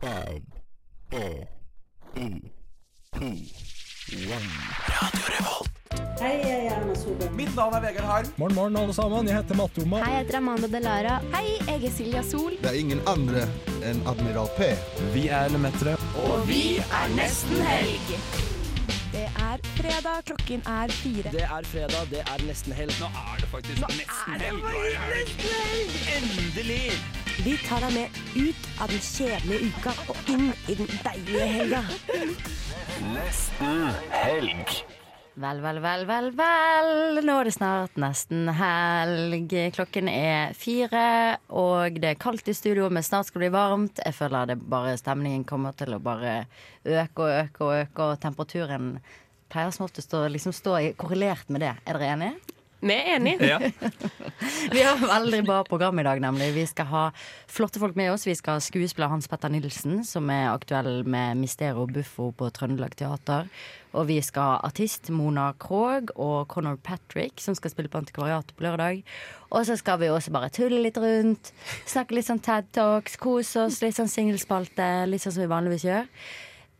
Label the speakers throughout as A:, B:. A: Five, four, three, two, one.
B: Hei, jeg er Erna Solberg.
C: Mitt navn er Vegard Harm.
D: Morgen, morgen, alle sammen. Jeg heter Matte Oma.
E: Hei, jeg heter Amanda Delara. Hei, jeg er Silja Sol.
F: Det er ingen andre enn Admiral P.
D: Vi er Lemetere.
E: Det er fredag, klokken er fire.
C: Det er fredag, det er nesten helg. Nå er det faktisk nesten helg. Endelig!
G: Vi tar deg med ut av den kjedelige uka og inn i den deilige helga.
H: Vel, vel, vel, vel, vel. Nå er det snart nesten helg. Klokken er fire, og det er kaldt i studio, men snart skal det bli varmt. Jeg føler det bare stemningen kommer til å bare øke og øke og øke, og temperaturen pleier som oftest å liksom stå i, korrelert med det. Er dere enige?
G: Vi er enige.
H: Vi har veldig bra program i dag, nemlig. Vi skal ha flotte folk med oss. Vi skal ha skuespiller Hans Petter Nilsen, som er aktuell med Mistero Buffo på Trøndelag Teater. Og vi skal ha artist Mona Krogh og Conor Patrick, som skal spille på Antikvariatet på lørdag. Og så skal vi også bare tulle litt rundt, snakke litt sånn TED Talks, kose oss, litt sånn singelspalte, litt sånn som vi vanligvis gjør.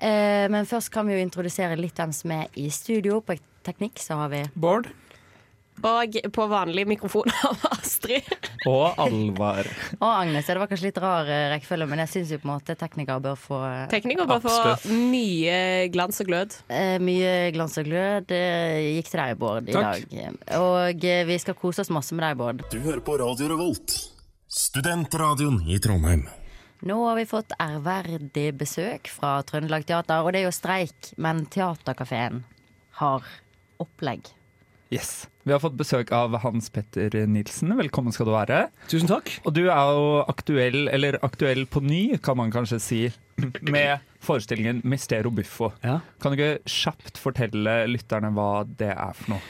H: Eh, Men først kan vi jo introdusere litt hvem som er i studio. På teknikk så har vi
D: Bård.
G: Og på vanlig mikrofon av Astrid.
D: Og Alvar.
H: Og Agnes. Ja, det var kanskje litt rar eh, rekkefølge, men jeg syns jo på en måte teknikere bør få eh,
G: Tekniker bare
D: Absolutt.
G: får mye glans og glød.
H: eh, mye glans og glød. Det gikk til deg, Bård, i
D: Takk.
H: dag. Og eh, vi skal kose oss masse med deg, Bård.
I: Du hører på Radio Revolt, studentradioen i Trondheim.
H: Nå har vi fått ærverdig besøk fra Trøndelag Teater, og det er jo streik, men Teaterkafeen har opplegg.
D: Yes. Vi har fått besøk av Hans Petter Nilsen. Velkommen skal du være.
C: Tusen takk.
D: Og du er jo aktuell, eller aktuell på ny, kan man kanskje si, med forestillingen Mistero Buffo.
C: Ja.
D: Kan du ikke kjapt fortelle lytterne hva det er for noe?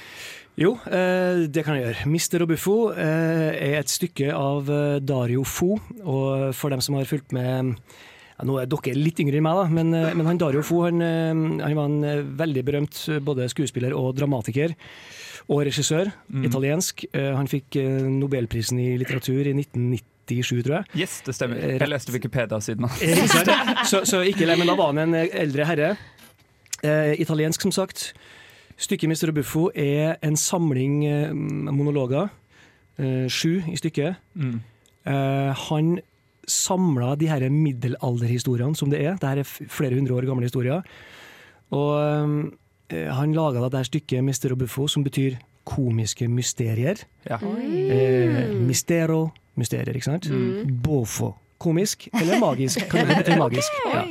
C: Jo, eh, det kan jeg gjøre. Mister og Buffo eh, er et stykke av eh, Dario Fo. Og for dem som har fulgt med ja, Nå er dere litt yngre enn meg, da, men, eh, men han Dario Fo han, eh, han var en eh, veldig berømt eh, både skuespiller og dramatiker. Og regissør. Italiensk. Eh, han fikk eh, Nobelprisen i litteratur i 1997, tror jeg.
D: Yes, det stemmer.
C: Rett.
D: Jeg leste Wikipedia siden av.
C: Eh, ikke sant? så, så ikke le, men da var han en eh, eldre herre. Eh, italiensk, som sagt. Stykket 'Mister og Buffo' er en samling eh, monologer. Eh, sju i stykket.
D: Mm.
C: Eh, han samla de her middelalderhistoriene som det er. Dette er f- flere hundre år gamle historier. Og eh, han laga da det her stykket 'Mister og Buffo', som betyr komiske mysterier.
D: Ja.
C: Eh, mistero, mysterier, ikke sant? Bofo. Komisk eller magisk. Kan det bety magisk? Ja.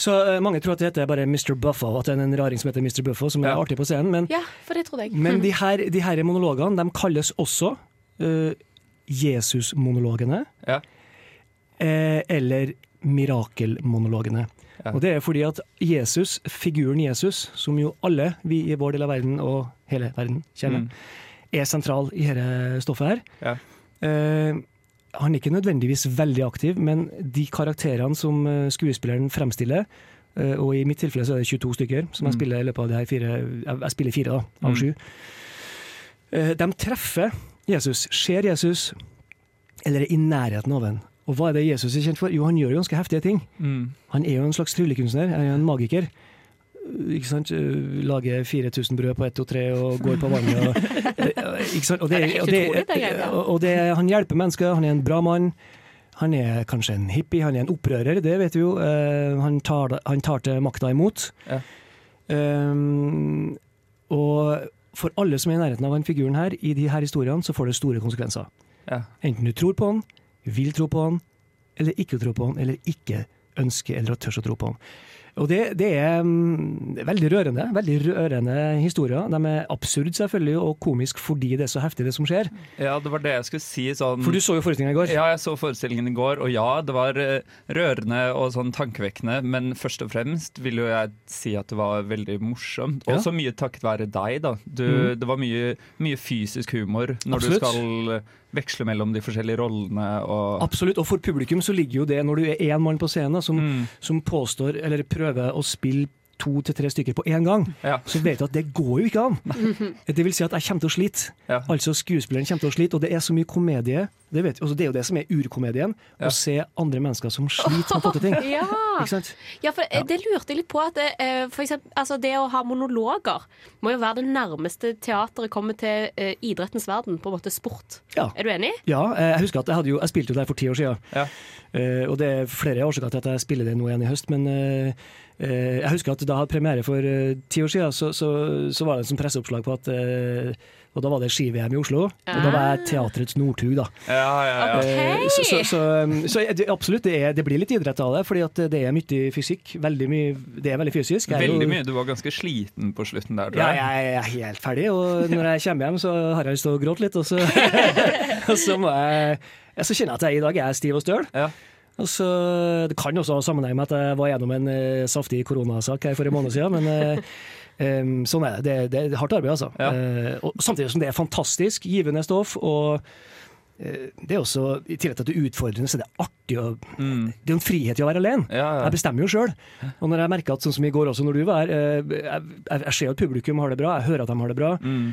C: Så eh, mange tror at det heter bare Mr. Buffo, at det er en raring som heter Mr. Buffo, som er
D: Ja.
C: artig på scenen. Men,
G: Ja, for det trodde jeg.
C: men de, her, de her monologene de kalles også eh, Jesus-monologene
D: Ja.
C: eh, eller mirakelmonologene.
D: Ja.
C: Og det er fordi at Jesus, figuren Jesus, som jo alle vi i vår del av verden og hele verden kjenner,
D: Mm.
C: er sentral i dette stoffet her.
D: Ja.
C: Eh, han er ikke nødvendigvis veldig aktiv, men de karakterene som eh, skuespilleren fremstiller, eh, og i mitt tilfelle så er det 22 stykker som jeg
D: Mm.
C: spiller i løpet av de her fire Jeg, jeg spiller fire, da, av
D: Mm.
C: sju. Eh, de treffer Jesus, ser Jesus, eller er i nærheten av en. Og hva er det Jesus er kjent for? Jo, han gjør ganske heftige ting.
D: Mm.
C: Han er jo en slags tryllekunstner, er jo en magiker. Ikke sant? Eh, Lager 4000 brød på ett og tre og går på vannet. Og, eh, ikke sant? Og, det,
G: Det er helt
C: og, det,
G: utrolig, det greiene der.
C: og- og det, han hjelper mennesker, han er en bra mann. Han er kanskje en hippie, han er en opprører, det vet vi jo. Eh, Han tar, han tar til makta imot.
D: Ja.
C: Um, og for alle som er i nærheten av han figuren her, i de her historiene, så får det store konsekvenser.
D: Ja.
C: Enten du tror på han, vil tro på han, eller ikke tro på han, eller ikke ønsker eller tør å tro på han. Og det, det er mm, det er veldig rørende. Veldig rørende historier. De er absurd selvfølgelig, og komisk fordi det er så heftig det som skjer.
D: ja, det var det jeg skulle si. Sånn.
C: For du så jo forestillinga i går.
D: Ja, jeg så forestillingen i går, og ja, det var eh, rørende og sånn tankevekkende, men først og fremst vil jo jeg si at det var veldig morsomt.
C: Ja. Mm.
D: Også mye takket være deg, da. Du, Det var mye, mye fysisk humor når
C: Absolutt.
D: du skal eh, veksle mellom de forskjellige rollene og
C: Absolutt. Og for publikum så ligger jo det, når du er én mann på scenen da, som, som påstår eller prøver å spille to til tre stykker på én gang,
D: Ja.
C: så vet du at det går jo ikke an. Det vil si at jeg kommer til å slite.
D: Ja.
C: Altså skuespilleren kommer til å slite, og det er så mye komedie Det, vet, altså, det er jo det som er urkomedien. Å se andre mennesker som sliter med å få til ting.
J: Ja.
C: Ikke sant?
J: Ja, for eh, Det lurte jeg litt på. At, eh, for eksempel, altså, det å ha monologer må jo være det nærmeste teateret kommer til eh, idrettens verden, på en måte sport.
C: Ja.
J: Er du enig?
C: Ja, eh, jeg husker at jeg, hadde jo, jeg spilte jo der for ti år siden. Eh, og det er flere årsaker til at jeg spiller det nå igjen i høst, men eh, eh, jeg husker at da jeg hadde premiere for eh, ti år siden, så, så, så var det en sånn presseoppslag på at eh, Og da var det ski-VM i Oslo, og da var jeg Teatrets Northug, da.
D: Ja, ja, ja.
C: Eh, Så, så, så, um, så jeg- det- absolutt, det, er, det blir litt idrett av det, fordi at det er mye fysikk. Veldig mye, det er veldig fysisk. Jeg er jo-
D: Veldig mye. Du var ganske sliten på slutten der, tror
C: Ja,
D: jeg.
C: jeg, jeg er helt ferdig, og når jeg kommer hjem, så har jeg lyst til å gråte litt. Og så, og så, må jeg, ja, så kjenner jeg at jeg i dag er stiv og støl. Og så, det kan også ha sammenheng med at jeg var gjennom en eh, saftig koronasak her for en måned siden, men eh, em, sånn er det. Det, det er hardt arbeid, altså. Eh, og samtidig som det er fantastisk, givende stoff. og eh, det er også, I tillegg til at det er utfordrende, så er det artig å Det er jo en frihet i å være alene. Jeg bestemmer jo sjøl. Og når jeg merker at sånn som i går også, når du var her eh, jeg, jeg, jeg ser jo at publikum har det bra, jeg hører at de har det bra.
D: Mm.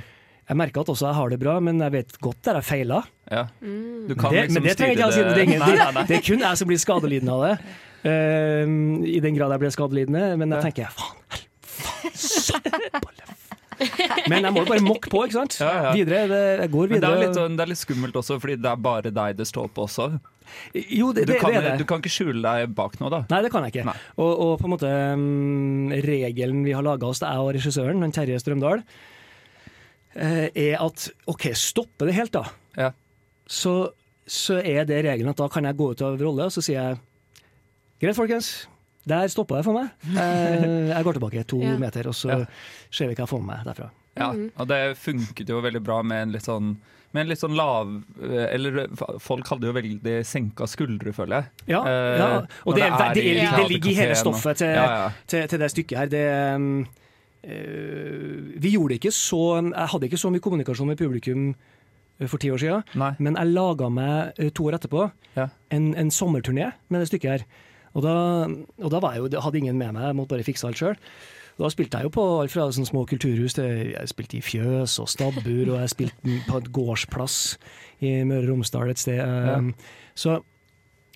C: Jeg merker at også jeg har det bra, men jeg vet godt der jeg feiler.
D: Ja. Du kan
C: Det,
D: liksom
C: men det
D: styre
C: trenger ikke jeg å si. Det, er ingen-
D: Nei, nei, nei.
C: det, det er kun jeg som blir skadelidende av det. Eh, I den grad jeg ble skadelidende. Men jeg tenker faen, helvete, faen, søppel. Men jeg må jo bare mokke på, ikke sant?
D: Ja, ja.
C: Videre. Det, jeg går
D: Men det
C: videre.
D: er, litt, sånn- det er litt skummelt også, fordi det er bare deg det står på også.
C: jo, det,
D: Du
C: det,
D: kan,
C: det er det.
D: du kan ikke skjule deg bak noe, da.
C: Nei, det kan jeg ikke. Og, og på en måte mm, regelen vi har laga oss, det er jeg og regissøren, han Terje Strømdal, eh, er at OK, stopper det helt, da,
D: Ja.
C: så, så er det regelen at da kan jeg gå ut av rolle, og så sier jeg greit, folkens. Der stoppa jeg for meg. Eh, Jeg går tilbake to
J: Ja.
C: meter, og så ser vi hva jeg får med meg derfra.
D: Ja, og det funket jo veldig bra med en litt sånn med en litt sånn lav Eller folk hadde jo veldig senka skuldre, føler jeg.
C: Ja,
D: Eh,
C: ja.
D: når
C: og det, er, det,
D: i
C: er, det ligger i hele
D: teaterkaféen og-
C: stoffet til,
D: ja, ja.
C: til, til det stykket her. Det, um, eh, vi gjorde det ikke så Jeg hadde ikke så mye kommunikasjon med publikum eh, for ti år siden,
D: Nei.
C: men jeg laga meg eh, to år etterpå
D: Ja.
C: en, en sommerturné med det stykket her. Og da, og da var jeg jo, hadde ingen med meg, jeg måtte bare fikse alt sjøl. Da spilte jeg jo på alt fra sånne små kulturhus til Jeg spilte i fjøs og stabbur, og jeg spilte på et gårdsplass i Møre og Romsdal et sted. Um, Så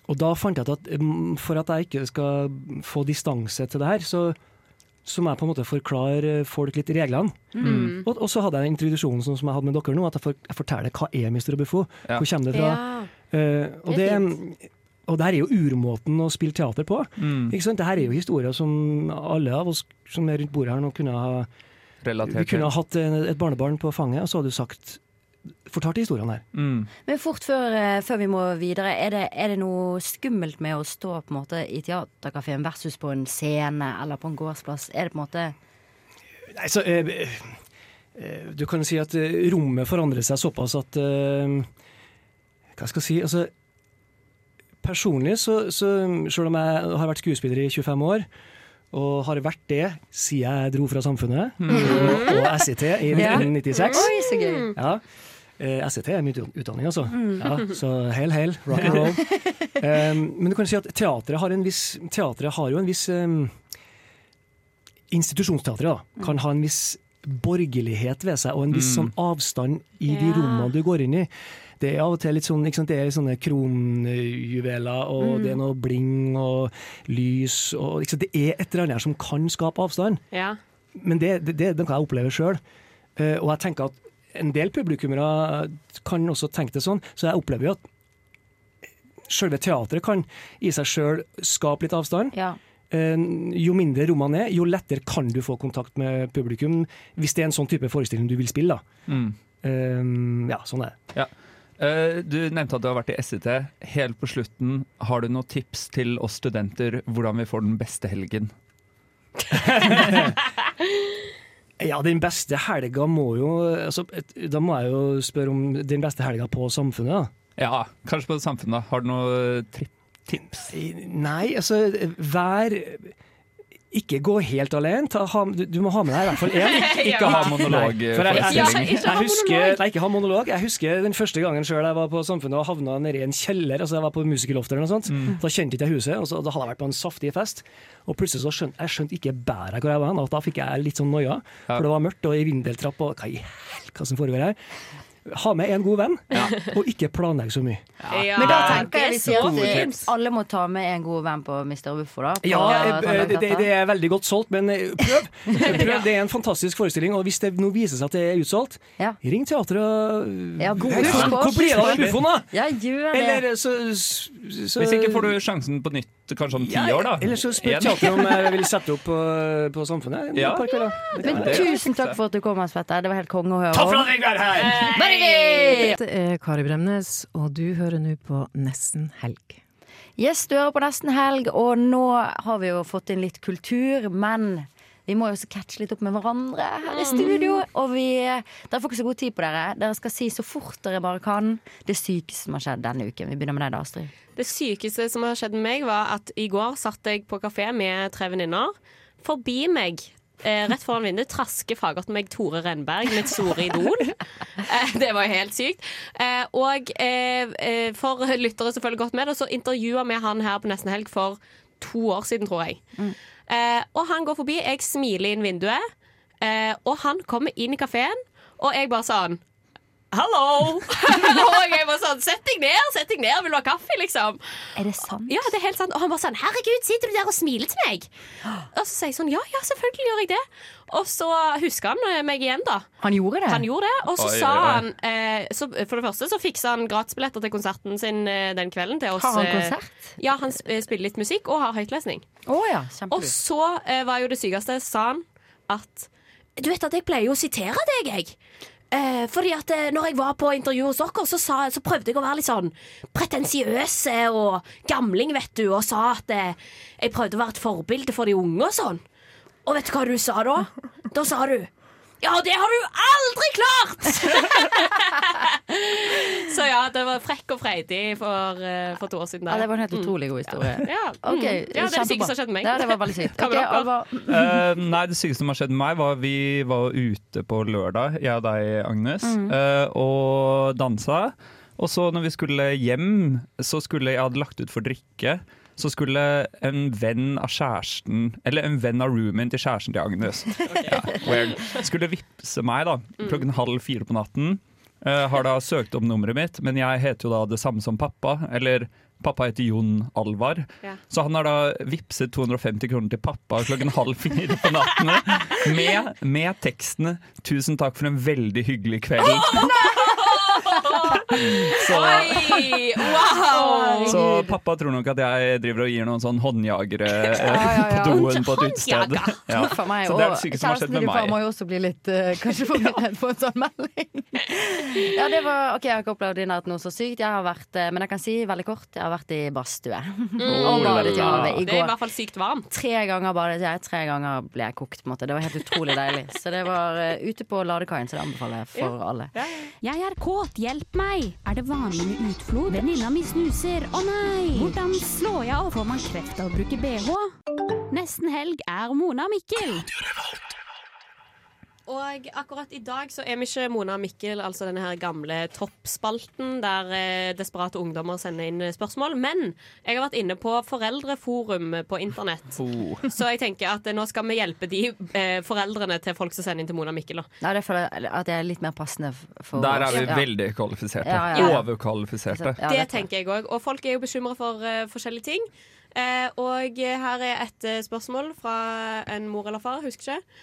C: og da fant jeg ut at mm, for at jeg ikke skal få distanse til det her, så, så må jeg på en måte forklare folk litt reglene.
J: Mm.
C: Og, og så hadde jeg den introduksjonen sånn som jeg hadde med dere nå, at jeg, for, jeg forteller hva er Mr. Buffo,
D: Ja.
C: hvor kommer det fra? Eh, og,
J: Det
C: det,
J: er
C: og det her er jo urmåten å spille teater på. Ikke sant? Det her er jo historier som alle av oss som er rundt bordet her nå, kunne ha Vi
D: Relatert til.
C: kunne ha hatt en- et barnebarn på fanget, og så hadde du sagt Fortalt de historiene her.
D: Mm.
H: Men fort før, eh, før vi må videre, er det, er det noe skummelt med å stå på en måte i teaterkafeen versus på en scene eller på en gårdsplass? Er det på en måte
C: Nei, så, eh, eh, du kan si at eh, rommet forandrer seg såpass at eh, Hva skal jeg si? Altså, personlig, så, så selv om jeg har vært skuespiller i 25 år, og har vært det siden jeg dro fra Samfunnet og, og SIT i
H: Mm. Ja.
C: 1996
H: Oi, så gøy!
C: ja. Eh, SCT er min utdanning, altså. Ja, så hell, hell, rock and roll. Um, men du kan si at teatret har, en viss, teatret har jo en viss um, Institusjonsteatret da, kan ha en viss borgerlighet ved seg, og en viss sånn avstand i de
J: Ja.
C: rommene du går inn i. Det er av og til litt sånn, ikke sant? Det er sånne kronjuveler, og det er noe bling og lys. Og, ikke sant? Det er et eller annet her som kan skape avstand
J: Ja.
C: men det, det, det, det kan jeg oppleve sjøl. og jeg tenker at en del publikummere kan også tenke det sånn, så jeg opplever jo at sjølve teatret kan i seg sjøl skape litt avstand.
H: Ja.
C: Eh, jo mindre rommene er, jo lettere kan du få kontakt med publikum, hvis det er en sånn type forestilling du vil spille. da.
D: Mm.
C: Eh, ja, sånn er det.
D: Ja. Eh, Du nevnte at du har vært i SIT. Helt på slutten, har du noen tips til oss studenter hvordan vi får den beste helgen?
C: Ja, den beste helga må jo altså, et- Da må jeg jo spørre om den beste helga på Samfunnet, da.
D: Ja, kanskje på samfunnet. Har du noen tripp? Tips.
C: Nei, altså vær Ikke gå helt alene. Ta, ha, du, du må ha med deg i hvert fall én.
D: Ikke ha
C: For jeg, jeg,
D: monologforestilling.
J: Ja, ikke ha
C: jeg husker, nei, ikke ha monolog. Jeg husker den første gangen sjøl jeg var på Samfunnet og havna nedi en kjeller. Altså jeg var på musikerloftet eller noe sånt. Da kjente ikke jeg huset, og så, da hadde jeg vært på en saftig fest. Og plutselig så skjønte jeg skjønte ikke bæret hvor jeg var hen, og da fikk jeg litt sånn noia. For det var mørkt og i vindeltrapp og hva i helvete som foregår her. ha med en god venn, og ikke planlegge så mye.
J: Ja.
H: Men da
C: Det er-
H: tenker jeg vi
J: det er
H: sier
J: så
H: at
J: tips.
H: eh, alle må ta med en god venn på Mr. Buffo, da. På
C: Ja,
H: Trøndelag
C: eh, det,
H: Teater.
C: det er veldig godt solgt, men eh, prøv. prøv. Det er en fantastisk forestilling, og hvis det nå viser seg at det er utsolgt, ring teatret og
H: Ja, god
C: Hvor-
H: skål.
C: Hvor blir det av den bufoen, da?
H: Ja, gjør det.
C: Eller eh, så, så
D: Hvis ikke får du sjansen på nytt kanskje om ti år, da.
C: Eller så spør
D: En.
C: teatret om jeg vil sette opp på, på Samfunnet.
D: Ja.
C: Et par kvelder.
H: Men
C: Det-
H: tusen takk for at du kom, Hans Petter. Det var helt konge å høre.
C: Ta fra
H: om.
C: deg hver her!
H: Bare gøy!
K: Det er Kari Bremnes, og du hører nå på Nesten helg.
H: Yes, du hører på Nesten helg, og nå har vi jo fått inn litt kultur, men vi må jo også catche litt opp med hverandre her i studio. Og vi, dere får ikke så god tid på dere. Dere skal si så fort dere bare kan det sykeste som har skjedd denne uken. Vi begynner med deg, da, Astrid.
J: Det sykeste som har skjedd med meg, var at i går satt jeg på kafé med tre venninner. Forbi meg, eh, rett foran vinduet, trasker fagert meg Tore Renberg, mitt store idol. Eh, det var helt sykt. Eh, og eh, eh, for lyttere som følger godt med, da, så intervjua vi han her på Nesten Helg for to år siden, tror jeg. Eh, og han går forbi, jeg smiler inn vinduet, eh, og han kommer inn i kafeen, og jeg bare sånn Hallo! og jeg var sånn, sett deg ned, sett deg ned, vil du ha kaffe, liksom?
H: Er det sant?
J: Ja, det er helt sant. Og han bare sånn, herregud, sitter du der og smiler til meg? Og så sier jeg sånn, ja, ja, selvfølgelig gjør jeg det. Og så husker han eh, meg igjen da.
H: Han gjorde det?
J: Han gjorde det, og så
H: Oi,
J: sa
H: oi, oi.
J: han eh, så For det første så fiksa han gratisbilletter til konserten sin eh, den kvelden til oss.
H: Har han
J: eh,
H: konsert?
J: Ja, han sp- eh, spiller litt musikk og har høytlesning.
H: Å ja,
J: Og så eh, var jo det sykeste, sa han at Du vet at jeg pleier jo å sitere deg, jeg. Eh, fordi at eh, når jeg var på intervju hos dere, så, sa, så prøvde jeg å være litt sånn pretensiøs eh, og gamling, vet du, og sa at eh, jeg prøvde å være et forbilde for de unge og sånn. Og vet du hva du sa da? Da sa du Ja, det har du aldri klart! så ja, det var frekk og freidig for, eh, for to år siden.
H: Ja, det var en helt
J: Mm.
H: utrolig god historie.
J: Ja, mm.
H: Ok,
J: Ja, det er det
H: kjempebra.
J: sykeste som har skjedd med meg.
H: Ja, det var veldig sykt.
J: Hva med
H: Ok,
J: dere?
H: Alva.
D: Eh, nei, det sykeste som har skjedd med meg, var vi var ute på lørdag, jeg og deg, Agnes,
H: Mhm.
D: eh, og dansa. Og så når vi skulle hjem, så skulle jeg hadde lagt ut for drikke. Så skulle en venn av kjæresten, eller en venn av roomien til kjæresten til Agnes, ja, weird, skulle vippse meg da,
H: Mm.
D: klokken halv fire på natten. Eh, har da søkt om nummeret mitt, men jeg heter jo da det samme som pappa. Eller pappa heter Jon Alvar.
L: Ja.
D: Så han har da vippset 250 kroner til pappa klokken halv fire på natten med, med teksten 'Tusen takk for en veldig hyggelig kveld'. Så,
J: Oi! Wow!
D: så pappa tror nok at jeg driver og gir noen sånn håndjagere eh,
H: Ja, ja, ja.
D: på doen på et utested. Ja.
H: Huff a meg,
D: Så det er
H: og
D: det sykeste som har skjedd
H: kjæresten
D: med
H: til far
D: meg.
H: må jo også bli litt eh, Kanskje forvirret på en sånn melding. ja, det var Ok, jeg har ikke opplevd din at noe så sykt. Jeg har vært, eh, men jeg kan si veldig kort, jeg har vært i badstue.
J: Mm.
H: og badet i havet i
J: Det er i
H: går.
J: hvert fall sykt varmt.
H: Tre ganger badet jeg, tre ganger ble jeg kokt. på en måte Det var helt utrolig deilig. Så det var eh, ute på ladekaien, så det anbefaler jeg for alle.
M: Jeg er kåt, hjelp meg! Er det vanlig med utflod? Venninna mi snuser, å nei! Hvordan slår jeg av? Får man kreft av å bruke bh? Nesten helg er Mona og Mikkel.
J: Og akkurat i dag så er vi ikke Mona og Mikkel, altså denne her gamle toppspalten der eh, desperate ungdommer sender inn eh, spørsmål. Men jeg har vært inne på foreldreforum på internett. Så jeg tenker at eh, nå skal vi hjelpe de eh, foreldrene til folk som sender inn til Mona og Mikkel. Da.
H: Nei, det føler jeg at jeg er litt mer passende for
D: Der er vi
H: oss. Ja.
D: veldig kvalifiserte.
H: Ja, ja, ja.
D: Overkvalifiserte.
J: det tenker jeg òg. Og folk er jo bekymra for eh, forskjellige ting. Eh, og her er et eh, spørsmål fra en mor eller far, husker ikke.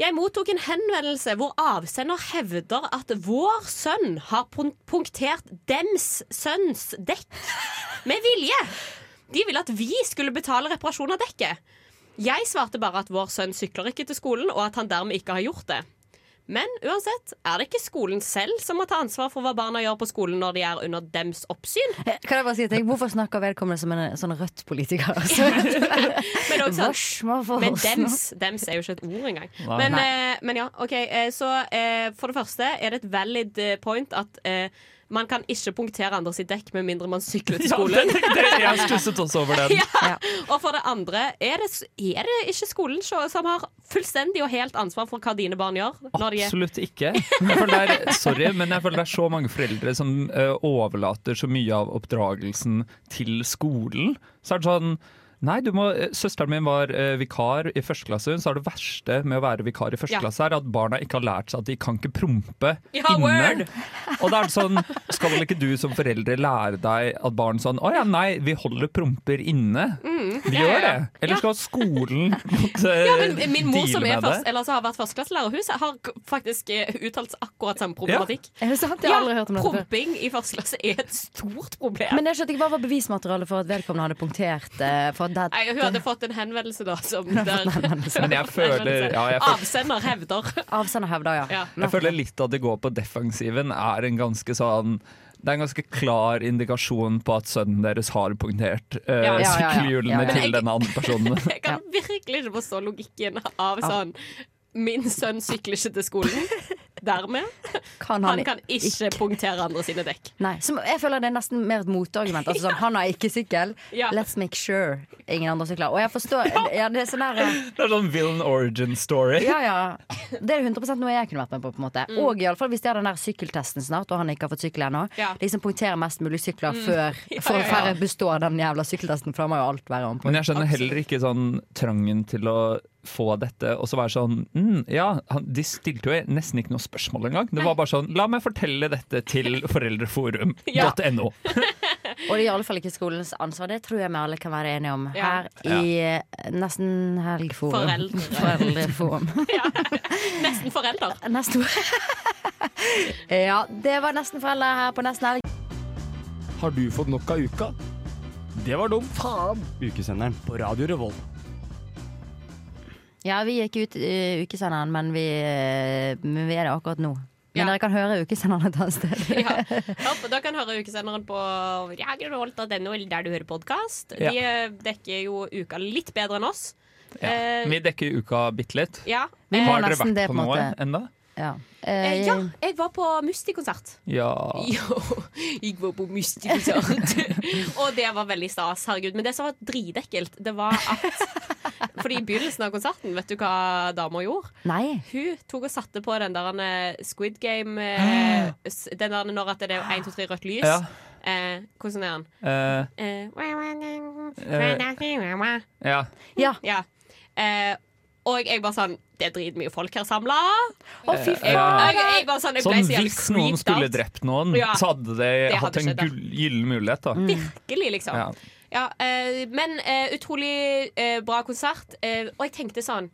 J: Jeg mottok en henvendelse hvor avsender hevder at vår sønn har pun- punktert dems sønns dekk med vilje. De ville at vi skulle betale reparasjon av dekket. Jeg svarte bare at vår sønn sykler ikke til skolen, og at han dermed ikke har gjort det. Men uansett er det ikke skolen selv som må ta ansvar for hva barna gjør på skolen når de er under dems oppsyn.
H: Kan jeg bare si at jeg, Hvorfor snakker vedkommende som en sånn rødt politiker? Altså?
J: Men, også,
H: Vars må få
J: men
H: oss nå.
J: dems, dems er jo ikke et ord engang.
H: Nei.
J: Men,
H: Nei.
J: eh, men ja, OK. eh, Så eh, for det første er det et valid eh, point at eh, man kan ikke punktere andre sitt dekk med mindre man sykler til
D: Ja,
J: skolen.
D: den- den- jeg stusset også over den.
J: Ja. Og for det andre, er det, er det ikke skolen sjå- som har fullstendig og helt ansvar for hva dine barn gjør? når de er-
D: Absolutt ikke. Jeg føler det er, sorry, men jeg føler det er så mange foreldre som eh, ø, overlater så mye av oppdragelsen til skolen. Så er det sånn Nei, du må, Søsteren min var eh, vikar i første klasse. Hun sa det verste med å være vikar i første
J: Ja.
D: klasse er at barna ikke har lært seg at de kan ikke prompe
J: Ja,
D: inne.
J: word!
D: Og da er det sånn, Skal vel ikke du som foreldre lære deg at barn sånn Å ja, nei, vi holder promper inne.
J: Mm,
D: Vi
J: ja, ja,
D: gjør det.
J: ja.
D: Eller skal skolen måtte
J: Ja, men min mor
D: deale
J: som er
D: med
J: først,
D: det?
J: eller som har vært førsteklasselærer, hun har k- faktisk eh, uttalt seg akkurat samme problematikk.
H: Er det sant? Jeg har aldri hørt om dette før.
J: Promping i første klasse er et stort problem.
H: Men jeg skjønte ikke hva var bevismaterialet for at vedkommende hadde punktert eh, for det,
J: Nei, hun hadde fått en henvendelse, da. Som der,
D: Men jeg føler, ja, jeg føler
J: Avsender hevder.
H: liksom, Avsender hevder, ja.
D: Jeg føler litt at det går på defensiven er en ganske sånn det er en ganske klar indikasjon på at sønnen deres har punktert eh,
J: Ja, ja, ja, ja.
D: sykkelhjulene
J: Ja, ja.
D: til denne andre personen.
J: Jeg kan virkelig ikke forstå logikken av sånn Min sønn sykler ikke til skolen. Dermed
H: Kan han
J: han kan ikke punktere andre sine dekk.
H: Nei, så jeg føler det er nesten mer et motargument. Altså, sånn, Han har ikke sykkel,
J: Ja.
H: let's make sure ingen andre sykler. Og jeg forstår, ja, det er sånn der, eh,
D: Det er sånn villain origin story.
H: ja, ja. Det er 100 noe jeg kunne vært med på. på en måte
J: Mm.
H: Og i alle fall, hvis de har den der sykkeltesten snart, og han ikke har fått sykkel ennå,
J: Ja.
H: liksom punktere mest mulig sykler
J: Mm.
H: før
J: Ja,
H: for
J: ja,
H: å
J: ja.
H: færre består den jævla sykkeltesten, for da må jo alt være om på.
D: Men jeg skjønner heller ikke sånn trangen til å få dette og så være sånn mm, Ja, han, de stilte jo nesten ikke noe spørsmål engang. Det var bare sånn La meg fortelle dette til foreldreforum.no.
H: Og det er i alle fall ikke skolens ansvar. Det tror jeg vi alle kan være enige om her
D: Ja.
H: i eh, Nesten Helgforum.
J: Foreldre.
H: Foreldreforum.
J: Nesten forelder.
H: Nesten Ja, det var Nesten foreldre her på Nesten Helg.
L: Har du fått nok av uka? Det var dumt. Faen! Ukesenderen på Radio Revolt.
H: Ja, vi gikk ut eh, ukesenderen, men vi, eh, men vi er det akkurat nå. Men dere kan høre ukesenderen et annet sted.
J: Hopp, da kan høre ukesenderen på radiorevolt.no, eller der du hører podkast.
D: Ja.
J: De eh, dekker jo uka litt bedre enn oss. Eh,
D: Vi dekker uka bitte litt.
J: Ja. Vi må
D: Har dere
J: nesten
D: vært
J: det, på en
D: på noe
J: måte.
D: ennå?
H: Ja.
J: eh, ja, jeg var på Musti-konsert.
D: Ja.
J: Jo, jeg var på Musti-konsert. og det var veldig stas. Herregud. Men det som var dritekkelt, det var at Fordi i begynnelsen av konserten, vet du hva dama gjorde?
H: Nei.
J: Hun tok og satte på den der eh, Squid Game eh, s- Den der når at det er 1, 2, 3 rødt lys.
D: Ja.
J: Eh, hvordan er den?
D: Eh,
J: Eh,
D: ja.
H: ja.
J: Eh, og jeg bare sånn Det er dritmye folk her samla.
D: Å, fy
J: Jeg,
D: faen!
J: jeg, jeg bare sånn, jeg ble
D: Sånn
J: så jævlig
D: hvis noen
J: creeped
D: skulle
J: out.
D: drept noen,
J: Ja.
D: så hadde de
J: Det
D: hatt
J: hadde
D: en
J: skjedd, da.
D: gull- gyllen mulighet, da.
J: Virkelig, liksom.
D: Ja.
J: Ja, eh, men eh, utrolig eh, bra konsert. Eh, og jeg tenkte sånn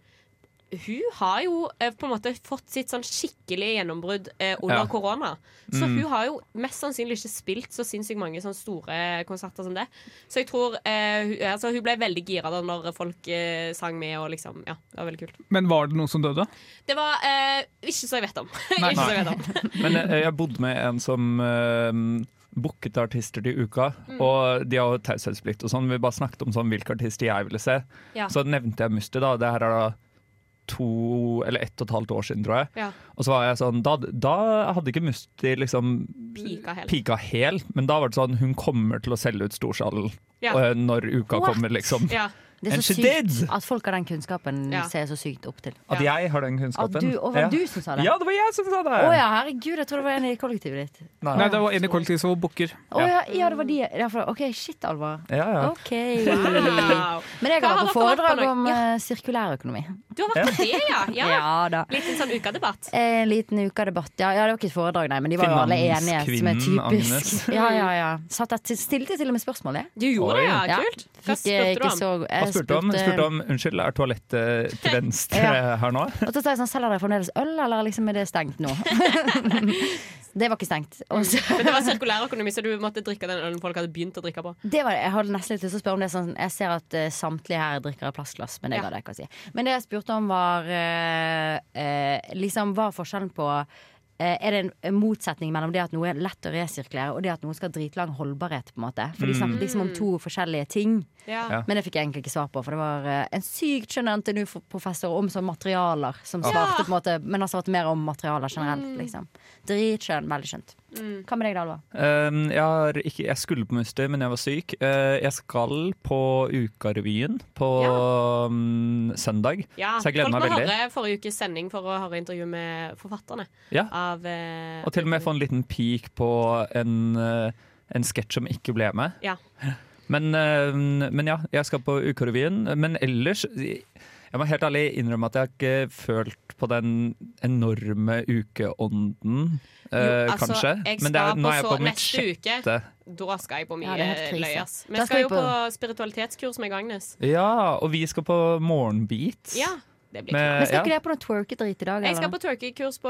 J: Hun har jo eh, på en måte fått sitt sånn skikkelig gjennombrudd eh, under
N: Ja.
J: korona. Så
N: Mm.
J: hun har jo mest sannsynlig ikke spilt så sinnssykt mange sånne store konserter som det. Så jeg tror eh, hun, altså, hun ble veldig gira da når folk eh, sang med og liksom Ja, det var veldig kult.
O: Men var det noen som døde?
J: Det var eh, ikke så jeg vet om.
D: Nei.
J: ikke så jeg vet om.
D: Men eh, jeg, jeg bodde med en som uh, booket artister til uka,
J: Mm.
D: og de har jo taushetsplikt og sånn. Vi bare snakket om sånn, hvilke artister jeg ville se.
J: Ja.
D: Så nevnte jeg Musti, da. Det her er da to eller ett og et halvt år siden, tror jeg.
J: Ja.
D: Og så var jeg sånn Da, da hadde ikke Musti liksom
J: Pika helt.
D: pika helt, men da var det sånn Hun kommer til å selge ut storsalen
H: Ja.
D: eh, når uka
H: What?
D: kommer, liksom.
H: Det er
D: And
H: så
D: she did!
H: sykt at folk har den kunnskapen
D: Ja.
H: ser jeg så sykt opp til.
D: At jeg har den kunnskapen.
H: At du, og var
D: Ja.
H: det du som sa det?
D: Ja, det var jeg som sa
H: Å
D: det!
H: ja, herregud, jeg tror det var en i kollektivet ditt.
D: Nei.
O: Nei, det var en i kollektivet som var booker.
H: Å ja, ja, det var de. Ja, for, OK, shit, Alvar.
O: Ja, ja.
H: OK.
J: Wow.
H: Men jeg
J: Hva
H: har vært på
J: har dere vært på
H: foredrag
J: nå?
H: om
J: Ja.
H: eh, sirkulær økonomi.
J: Du har vært på det, ja. ja.
H: Ja, da.
J: Litt en sånn ukedebatt.
H: En liten ukedebatt. Ja, ja, det var ikke et foredrag, nei, men de var jo alle enige, som er
D: Finanskvinnen
H: typisk.
D: Agnes.
H: Ja, ja, ja. Satt jeg til, stilte til og med spørsmål, jeg.
J: Du gjorde det, ja. Kult. Hva
H: Fikk, eh,
J: spurte du
H: ikke
J: om?
H: så- jeg
D: Han spurte om,
H: spurte-
D: spurte om Unnskyld, er toalettet til venstre
H: Ja.
D: her nå?
H: Og så sa jeg sånn, selger dere fremdeles øl, eller liksom er det stengt nå? det var ikke stengt. Og så,
J: Men det var sirkulærøkonomi, så du måtte drikke den ølen folk hadde begynt å drikke på.
H: det var det. Jeg hadde nesten litt lyst til å spørre om det. er Sånn, jeg ser at eh, samtlige her drikker av plastglass, men det
J: Ja.
H: gadd jeg ikke å si. Men det jeg spurte om, var eh, eh, liksom hva er forskjellen på eh, er det en- en motsetning mellom det at noe er lett å resirkulere, og det at noe skal ha dritlang holdbarhet? på en måte For de
J: Mm.
H: snakket liksom om to forskjellige ting.
J: Ja. Ja.
H: Men det fikk jeg egentlig ikke svar på, for det var eh, en sykt skjønnende NTNU-professor om sånn materialer som
J: Ja.
H: svarte, på en måte men han svarte mer om materialer generelt.
J: Mm.
H: liksom Dritskjønn. Veldig skjønt. Hva med deg, Dalva?
J: Eh,
D: Um, jeg, har ikke, jeg skulle på Musti, men jeg var syk. Uh, jeg skal på Ukarevyen på um, søndag,
J: Ja,
D: så jeg gleder
J: folk
D: meg
J: må
D: veldig.
J: høre forrige ukes sending for å høre intervju med forfatterne.
D: Ja.
J: Av, eh,
D: eh, Og til og med få en liten peak på en, uh, en sketsj som ikke ble med.
J: ja.
D: Men, eh, men ja, jeg skal på UK-revyen. Men ellers Jeg må helt ærlig innrømme at jeg har ikke følt på den enorme ukeånden, eh,
J: Jo, altså,
D: kanskje.
J: jeg
D: Men det
J: skal
D: er, nå er jeg
J: så-
D: på mitt
J: neste uke.
D: sjette.
J: Da skal jeg på mye
H: Ja, det er helt krise.
J: løyas. Vi
H: Da
J: skal,
H: skal jeg
J: jo på,
H: på-
J: spiritualitetskurs med Agnes.
D: Ja, og vi skal på morgenbeat.
J: Ja, det blir
D: Men-
J: knall.
H: Men skal ikke
D: ja.
H: dere på noe twerkedrit i dag,
J: Jeg skal
H: eller?
J: på twerkekurs på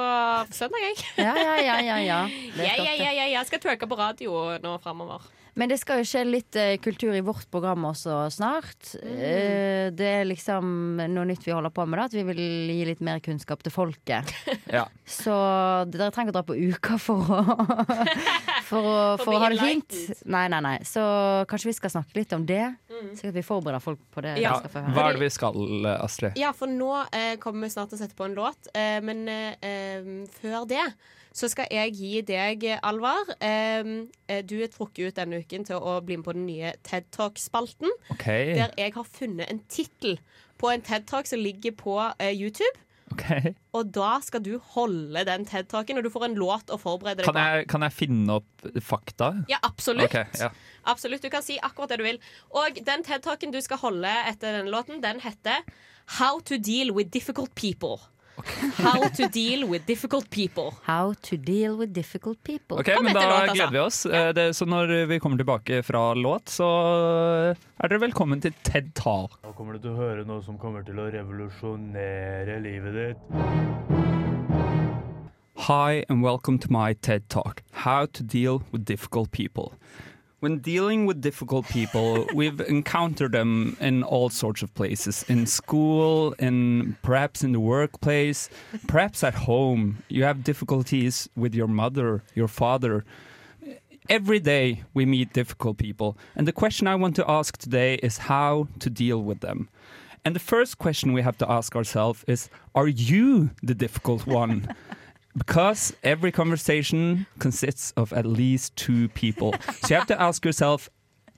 J: søndag, jeg.
H: Ja, ja, ja, ja, ja. Det er
J: ja, ja,
H: flott, det.
J: ja, ja, ja. Jeg skal twerke på radio nå framover.
H: Men det skal jo skje litt eh, kultur i vårt program også snart. Eh, det er liksom noe nytt vi holder på med, da. At vi vil gi litt mer kunnskap til folket.
D: Ja.
H: Så dere trenger ikke å dra på uka for å For å,
G: For å
H: for å
G: bli
H: ha det fint.
G: enlightened.
H: Nei, nei, nei. Så kanskje vi skal snakke litt om det. Slik at vi forbereder folk på det. de
J: Ja.
H: skal få høre.
D: Hva er det vi skal, Astrid?
J: Ja, for nå eh, kommer vi snart til å sette på en låt. Eh, men eh, eh, før det så skal jeg gi deg, eh, Alvar eh, eh, Du er trukket ut denne uken til å bli med på den nye TED Talk-spalten.
D: Ok.
J: Der jeg har funnet en tittel på en TED Talk som ligger på eh, YouTube.
D: Ok.
J: Og da skal du holde den TED Talken, og du får en låt å forberede deg
D: Kan jeg, kan jeg finne opp fakta?
J: Ja, absolutt.
D: Ok, ja.
J: Absolutt, Du kan si akkurat det du vil. Og den TED-talken du skal holde etter denne låten, den heter How to deal with difficult people. How to deal with difficult people.
H: How to deal with difficult people.
D: Ok, men Da gleder vi oss. Eh, Det, så når vi kommer tilbake fra låt, så er dere velkommen til TED Talk.
N: Nå kommer du til å høre noe som kommer til å revolusjonere livet ditt.
D: Hi, and welcome to my TED Talk How to Deal with Difficult People. When dealing with difficult people, we've encountered them in all sorts of places in school, in perhaps in the workplace, perhaps at home. You have difficulties with your mother, your father. Every day we meet difficult people, and the question I want to ask today is how to deal with them. And the first question we have to ask ourselves is Are you the difficult one? because every conversation consists of at least two people. So you have to ask yourself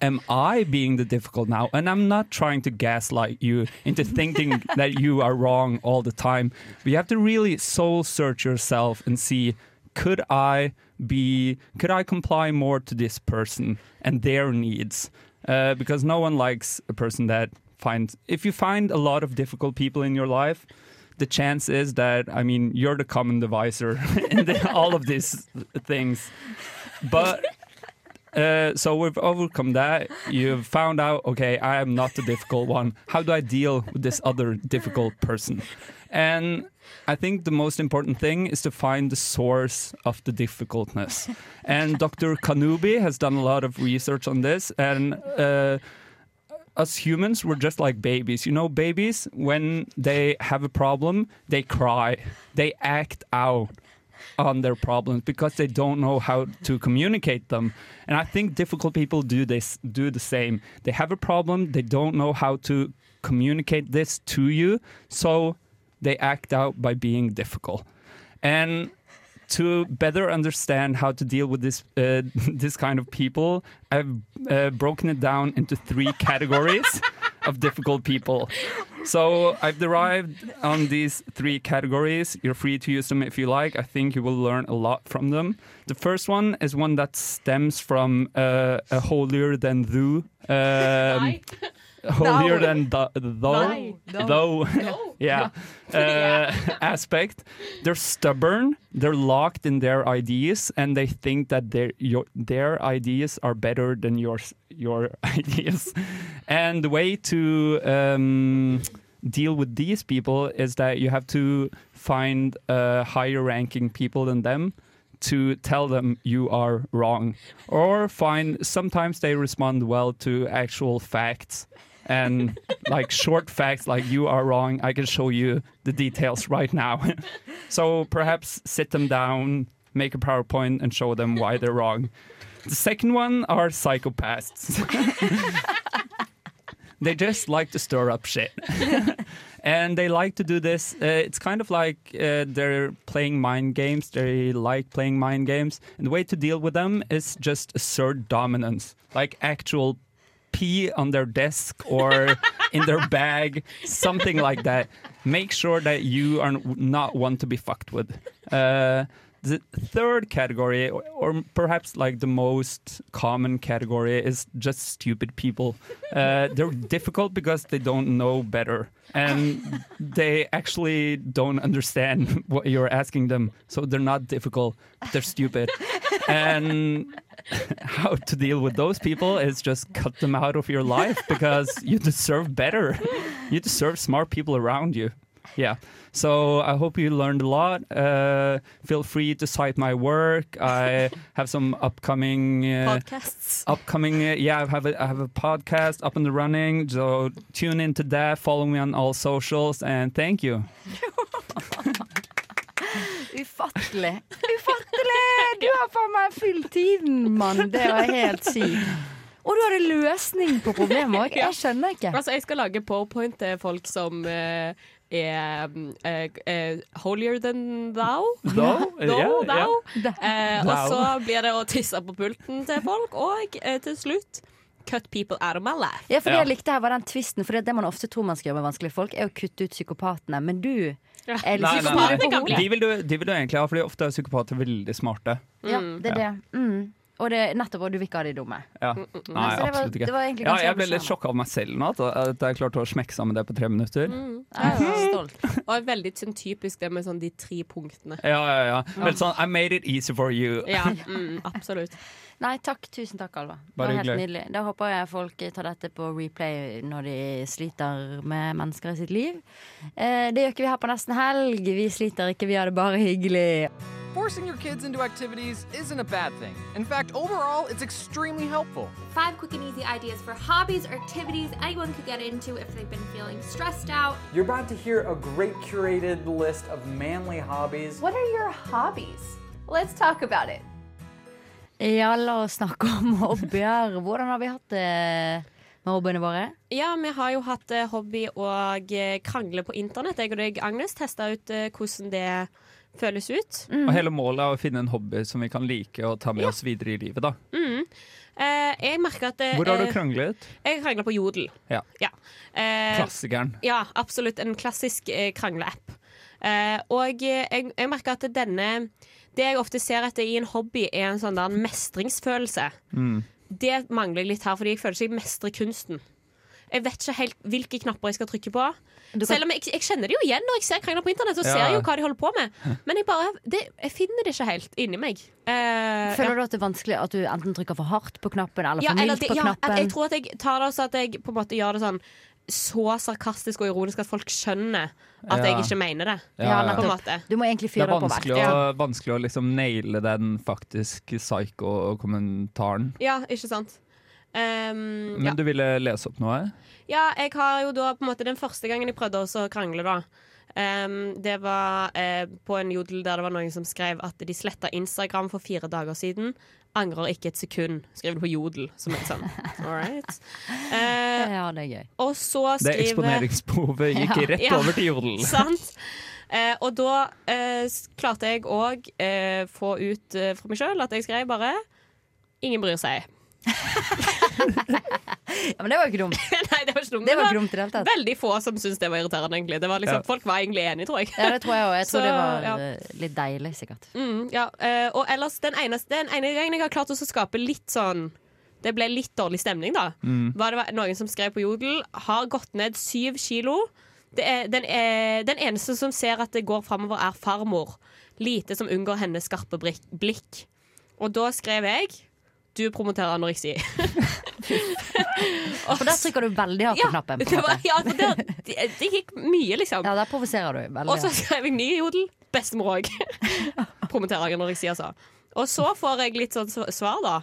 D: Am I being the difficult now? And I'm not trying to gaslight you into thinking that you are wrong all the time. But you have to really soul search yourself and see could I be could I comply more to this person and their needs? Uh, because no one likes a person that finds if you find a lot of difficult people in your life, the chance is that I mean you're the common divisor in the, all of these things. But uh, so we've overcome that. You've found out, okay, I am not the difficult one. How do I deal with this other difficult person? And I think the most important thing is to find the source of the difficultness. And Dr. Kanubi has done a lot of research on this. And uh, us humans, we're just like babies. You know, babies, when they have a problem, they cry, they act out on their problems because they don't know how to communicate them. And I think difficult people do this do the same. They have a problem, they don't know how to communicate this to you, so they act out by being difficult. And to better understand how to deal with this uh, this kind of people, I've uh, broken it down into three categories of difficult people. So I've derived on these three categories. You're free to use them if you like. I think you will learn a lot from them. The first one is one that stems from uh, a holier than thou. Um, holier than thou, thou,
P: Nei. No.
D: thou
P: No.
D: yeah, uh, aspect. They're stubborn. They're locked in their ideas, and they think that their your, their ideas are better than yours your ideas. and the way to um, deal with these people is that you have to find uh, higher ranking people than them to tell them you are wrong or find sometimes they respond well to actual facts and like short facts like you are wrong i can show you the details right now so perhaps sit them down make a powerpoint and show them why they're wrong the second one are psychopaths they just like to stir up shit and they like to do this uh, it's kind of like uh, they're playing mind games they like playing mind games and the way to deal with them is just assert dominance like actual pee on their desk or in their bag something like that make sure that you are not one to be fucked with uh, The third category, or, or perhaps like the most common category, is just stupid people. Uh, they're difficult because they don't know better and they actually don't understand what you're asking them. So they're not difficult, they're stupid. And how to deal with those people is just cut them out of your life because you deserve better. You deserve smart people around you. Yeah. So I hope you learned a lot. Uh, feel free to cite my work. I have some upcoming uh,
J: Podcasts.
D: Upcoming, uh, yeah, I have a, I have a podcast up and running. So tune into that. Follow me on all socials, and thank you.
H: Ufattelig. Ufattelig! Du har faen meg fylt tiden, mann. Det var helt sykt. Og du hadde løsning på problemet òg. Jeg skjønner ikke.
J: Altså, jeg skal lage powerpoint til folk som eh, er eh, eh, holier than thou.
D: Thou?
J: Thou,
D: Ja,
J: thou.
D: ja.
J: Eh, og
D: Thou.
J: så blir det å tisse på pulten til folk, og eh, til slutt cut people out of my life.
H: Ja, for Det jeg likte her var den tvisten, for det, er det man ofte tror man skal gjøre med vanskelige folk, er å kutte ut psykopatene. Men du er liksom litt
D: Nei, nei,
H: på
D: nei.
H: hodet.
D: De, vil du, de vil du egentlig ha, fordi ofte er psykopater veldig smarte.
H: Ja, det er det. Mm. Og det er nettopp, og du vil ikke ha de dumme.
D: Ja.
H: Mm, mm, mm. Så det
D: Nei,
H: var-
D: absolutt ikke.
H: det var egentlig
D: ja,
H: ganske
D: jeg ble litt
H: revolusjonerende.
D: sjokka av meg selv nå, at, at jeg klarte å smekke sammen det på tre minutter.
J: Mhm. Og er veldig sånn typisk det med sånn de tre punktene.
D: Ja, ja, ja. Vel sånn, I made it easy for you.
J: Ja, mm, absolutt.
H: Nei, takk. Tusen takk, Alva. Det
D: Bare
H: var helt
D: hyggelig.
H: nydelig. Da håper jeg folk tar dette på replay når de sliter med mennesker i sitt liv. Eh, det gjør ikke vi her på nesten helg. Vi sliter ikke, vi har det bare hyggelig.
P: Forcing your kids into activities isn't a bad thing. In fact, overall, it's extremely helpful.
Q: Five quick and easy ideas for hobbies or activities anyone could get into if they've been feeling stressed out.
R: You're about to hear a great curated list of manly hobbies.
Q: What are your hobbies? Let's talk about it.
H: Ja, la oss snakke om hobbyer. Hvordan har vi hatt det med hobbyene våre?
J: Ja, vi har jo hatt eh, hobby og eh, krangle på internett. Jeg og deg, Agnes, testa ut eh, hvordan det føles ut.
D: Og hele målet er å finne en hobby som vi kan like og ta med oss videre i livet, da.
J: Mm. Eh, jeg merker at eh,
D: Hvor har du
J: eh,
D: kranglet?
J: Jeg krangla på Jodel.
D: Ja.
J: Ja. Eh,
D: Klassikeren.
J: ja, absolutt. En klassisk eh, krangleapp. Eh, og eh, jeg, jeg merker at denne Det jeg ofte ser etter i en hobby, er en sånn der mestringsfølelse. Det mangler jeg litt her, fordi jeg føler ikke jeg mestrer kunsten. Jeg vet ikke helt hvilke knapper jeg skal trykke på.
H: Du kan-
J: Selv om jeg, jeg kjenner det jo igjen når jeg ser krangler på internett. Så
H: Ja.
J: ser jeg jo hva de holder på med Men jeg bare det, Jeg finner det ikke helt inni meg. Eh,
H: Føler
J: ja.
H: du at det er vanskelig at du enten trykker for hardt på knappen eller
J: Ja,
H: for
J: eller
H: mildt
J: det,
H: på
J: ja,
H: knappen?
J: at jeg tror at jeg tar det også at jeg på en måte gjør det sånn så sarkastisk og ironisk at folk skjønner at
D: Ja.
J: jeg ikke mener det.
D: Ja, ja, ja.
J: På en måte.
H: Du må egentlig
D: Det
H: fyre
D: er
H: det opp og vekk.
D: vanskelig å, vanskelig å liksom naile den faktiske psycho-kommentaren.
J: Ja, ikke sant. Ehm,
D: Men
J: ja.
D: du ville lese opp noe?
J: ja, jeg har jo da på en måte den første gangen jeg prøvde også å krangle, da. ehm, det var eh, på en jodel der det var noen som skrev at de sletta Instagram for fire dager siden. Angrer ikke et sekund. Skrev det på jodel. Som et sånn. All right. Eh,
H: ja, det er gøy.
J: Og så
D: Det
J: skriver
D: eksponeringsbehovet gikk rett over til jodel.
J: Sant. Eh, og da eh, s- klarte jeg òg eh, få ut eh, fra meg sjøl at jeg skrev bare 'ingen bryr seg'.
H: Ja, men det var jo ikke dumt.
J: Nei, det var ikke dumt.
H: Det var
J: Det
H: ikke dumt i det hele
J: var
H: tatt.
J: veldig få som syntes det var irriterende, egentlig. Det var liksom,
H: Ja.
J: Folk var egentlig enige, tror jeg.
H: Ja, det tror jeg òg. Jeg tror
J: Så,
H: det var
J: ja.
H: eh, litt deilig, sikkert.
J: Mm, ja. eh, og ellers, den eneste, den ene gangen jeg har klart å skape litt sånn Det ble litt dårlig stemning, da.
H: Mm.
J: Var det var noen som skrev på Jodel har gått ned syv kilo. Det er, den, er, den eneste som ser at det går framover, er farmor. Lite som unngår hennes skarpe brik- blikk. Og da skrev jeg du promoterer anoreksi.
H: For der trykker du veldig hardt på knappen. På
J: Det,
H: en
J: var,
H: måte.
J: ja, for det, det, det gikk mye, liksom.
H: Ja, der provoserer du veldig.
J: Og så skrev jeg ny jodel. Bestemor òg. Promoterer anoreksi, altså. Og så får jeg litt sånn sv- svar, da.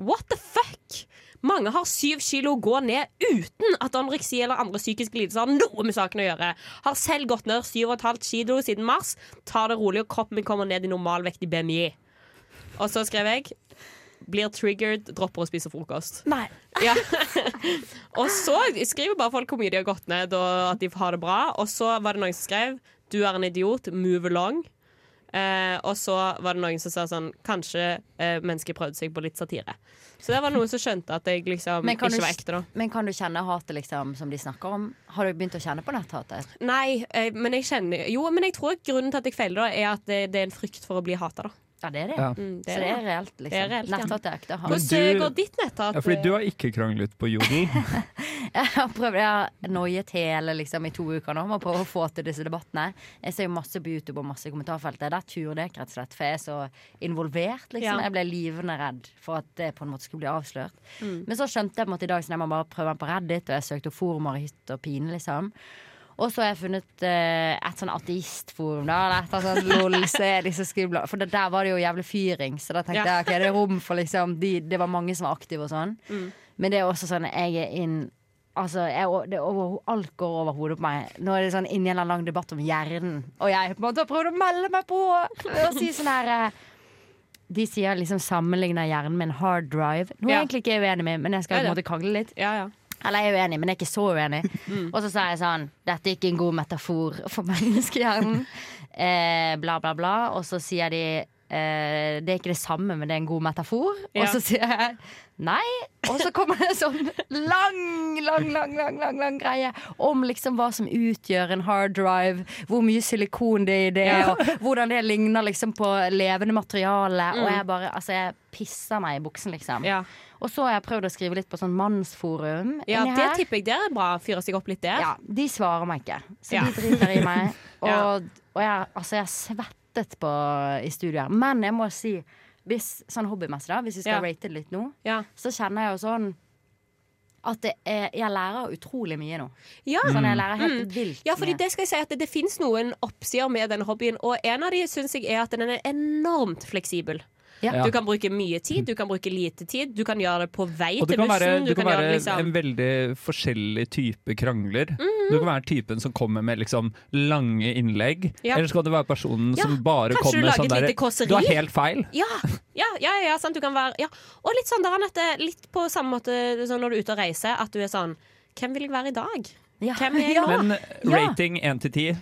J: What the fuck? Mange har syv kilo å gå ned uten at anoreksi eller andre psykiske lidelser har noe med saken å gjøre. Har selv gått ned syv og et halvt kilo siden mars. Tar det rolig, og kroppen min kommer ned i normalvekt i BMI. Og så skrev jeg blir triggered, dropper å spise frokost.
H: Nei.
J: Ja. og så skriver bare folk hvor mye de har gått ned, og at de har det bra. Og så var det noen som skrev 'Du er en idiot. Move along'. Eh, og så var det noen som sa sånn Kanskje eh, mennesker prøvde seg på litt satire. Så der var det noen som skjønte at jeg liksom
H: Men
J: ikke
H: kan, du,
J: var ekte, da.
H: men kan du kjenne hatet liksom, som de snakker om? Har du begynt å kjenne på netthatet?
J: Nei, eh, men jeg kjenner Jo, men jeg tror grunnen til at jeg feiler, da, er at det, det er en frykt for å bli hata, da.
H: Ja, det er det.
D: Ja.
J: Mm,
H: Så det er reelt, liksom.
J: Det er reelt, ja.
H: Netthat er ekte hat.
D: Men
J: Hvordan går ditt netthat?
D: Ja, fordi du har ikke kranglet på jodel.
H: Jeg har prøvd, jeg har noiet hele liksom, i to uker nå med å prøve å få til disse debattene. Jeg ser jo masse på YouTube og masse i kommentarfeltet. Der turer det ikke, rett og slett, for jeg er så involvert.
G: Ja.
H: Liksom. Jeg ble livende redd for at det på en måte skulle bli avslørt.
G: Mm.
H: Men så skjønte jeg på en måte i dag så jeg må bare prøve den på Reddit, og jeg søkte opp forumer i hytt og pine, liksom. Og så har jeg funnet eh, et sånn ateistforum, da. Eller et eller annet sånn lol, så er de så skribla- For det, der var det jo jævlig fyring, så da tenkte
G: Ja.
H: jeg ok, det er rom for liksom de, Det var mange som var aktive og sånn.
G: Mm.
H: Men det er også sånn jeg er inn Altså, jeg, det er over, Alt går over hodet på meg. Nå er det sånn inni en eller annen lang debatt om hjernen. Og jeg på en måte har prøvd å melde meg på og si sånn her eh, De sier liksom sammenligner hjernen med en hard drive. Noe jeg egentlig ikke er uenig med, men jeg skal
G: Nei,
H: på en
G: det.
H: måte krangle
J: eh,
H: litt. Eller jeg er uenig, men jeg er ikke så uenig.
G: Mm.
H: Og så sa jeg sånn Dette er ikke en god metafor for menneskehjernen. Eh, bla, bla, bla. Og så sier de eh, det er ikke det samme, men det er en god metafor.
G: Ja.
H: Og så sier jeg nei. Og så kommer det en sånn lang, lang, lang, lang, lang, lang greie om liksom hva som utgjør en hard drive. Hvor mye silikon det er i det,
G: Ja.
H: og hvordan det ligner liksom på levende materiale.
G: Mm.
H: Og jeg bare Altså, jeg pisser meg i buksen, liksom. Og så har jeg prøvd å skrive litt på sånn mannsforum.
J: Ja,
H: inni
J: det
H: her.
J: tipper jeg der er bra. Fyre seg opp litt der.
H: Ja, De svarer meg ikke, så
J: Ja.
H: de driter i meg. Og,
J: Ja.
H: og jeg, altså, jeg svettet på, i studio her. Men jeg må si, hvis, sånn hobbymessig, da, hvis vi skal
G: Ja.
H: rate det litt nå, så kjenner jeg jo sånn at det er, jeg lærer utrolig mye nå. Sånn jeg lærer helt
J: Mm.
H: vilt
J: Ja, fordi
H: mye.
J: det skal jeg si at det, det finnes noen oppsider med den hobbyen, og en av de syns jeg er at den er enormt fleksibel.
D: Ja.
J: Du kan bruke mye tid, du kan bruke lite tid, du kan gjøre det på vei
D: Og
J: til
D: du kan
J: bussen.
D: være, du kan
J: gjøre
D: være
J: det liksom Mhm.
D: en veldig forskjellig type krangler. Du kan være typen som kommer med liksom lange innlegg,
J: Ja.
D: eller så kan du være personen
J: Ja,
D: som bare
J: kanskje du
D: kommer med
J: lager
D: sånn
J: et lite
D: derre
J: kåseri?»
D: Du har helt feil.
J: Ja, ja, ja, ja sant, du kan være ja. Og litt sånn der, Anette, litt på samme måte sånn når du er ute og reiser, at du er sånn Hvem vil jeg være i dag? Hvem er jeg nå?
D: Men
J: Ah, Ja.
D: rating 1 til 10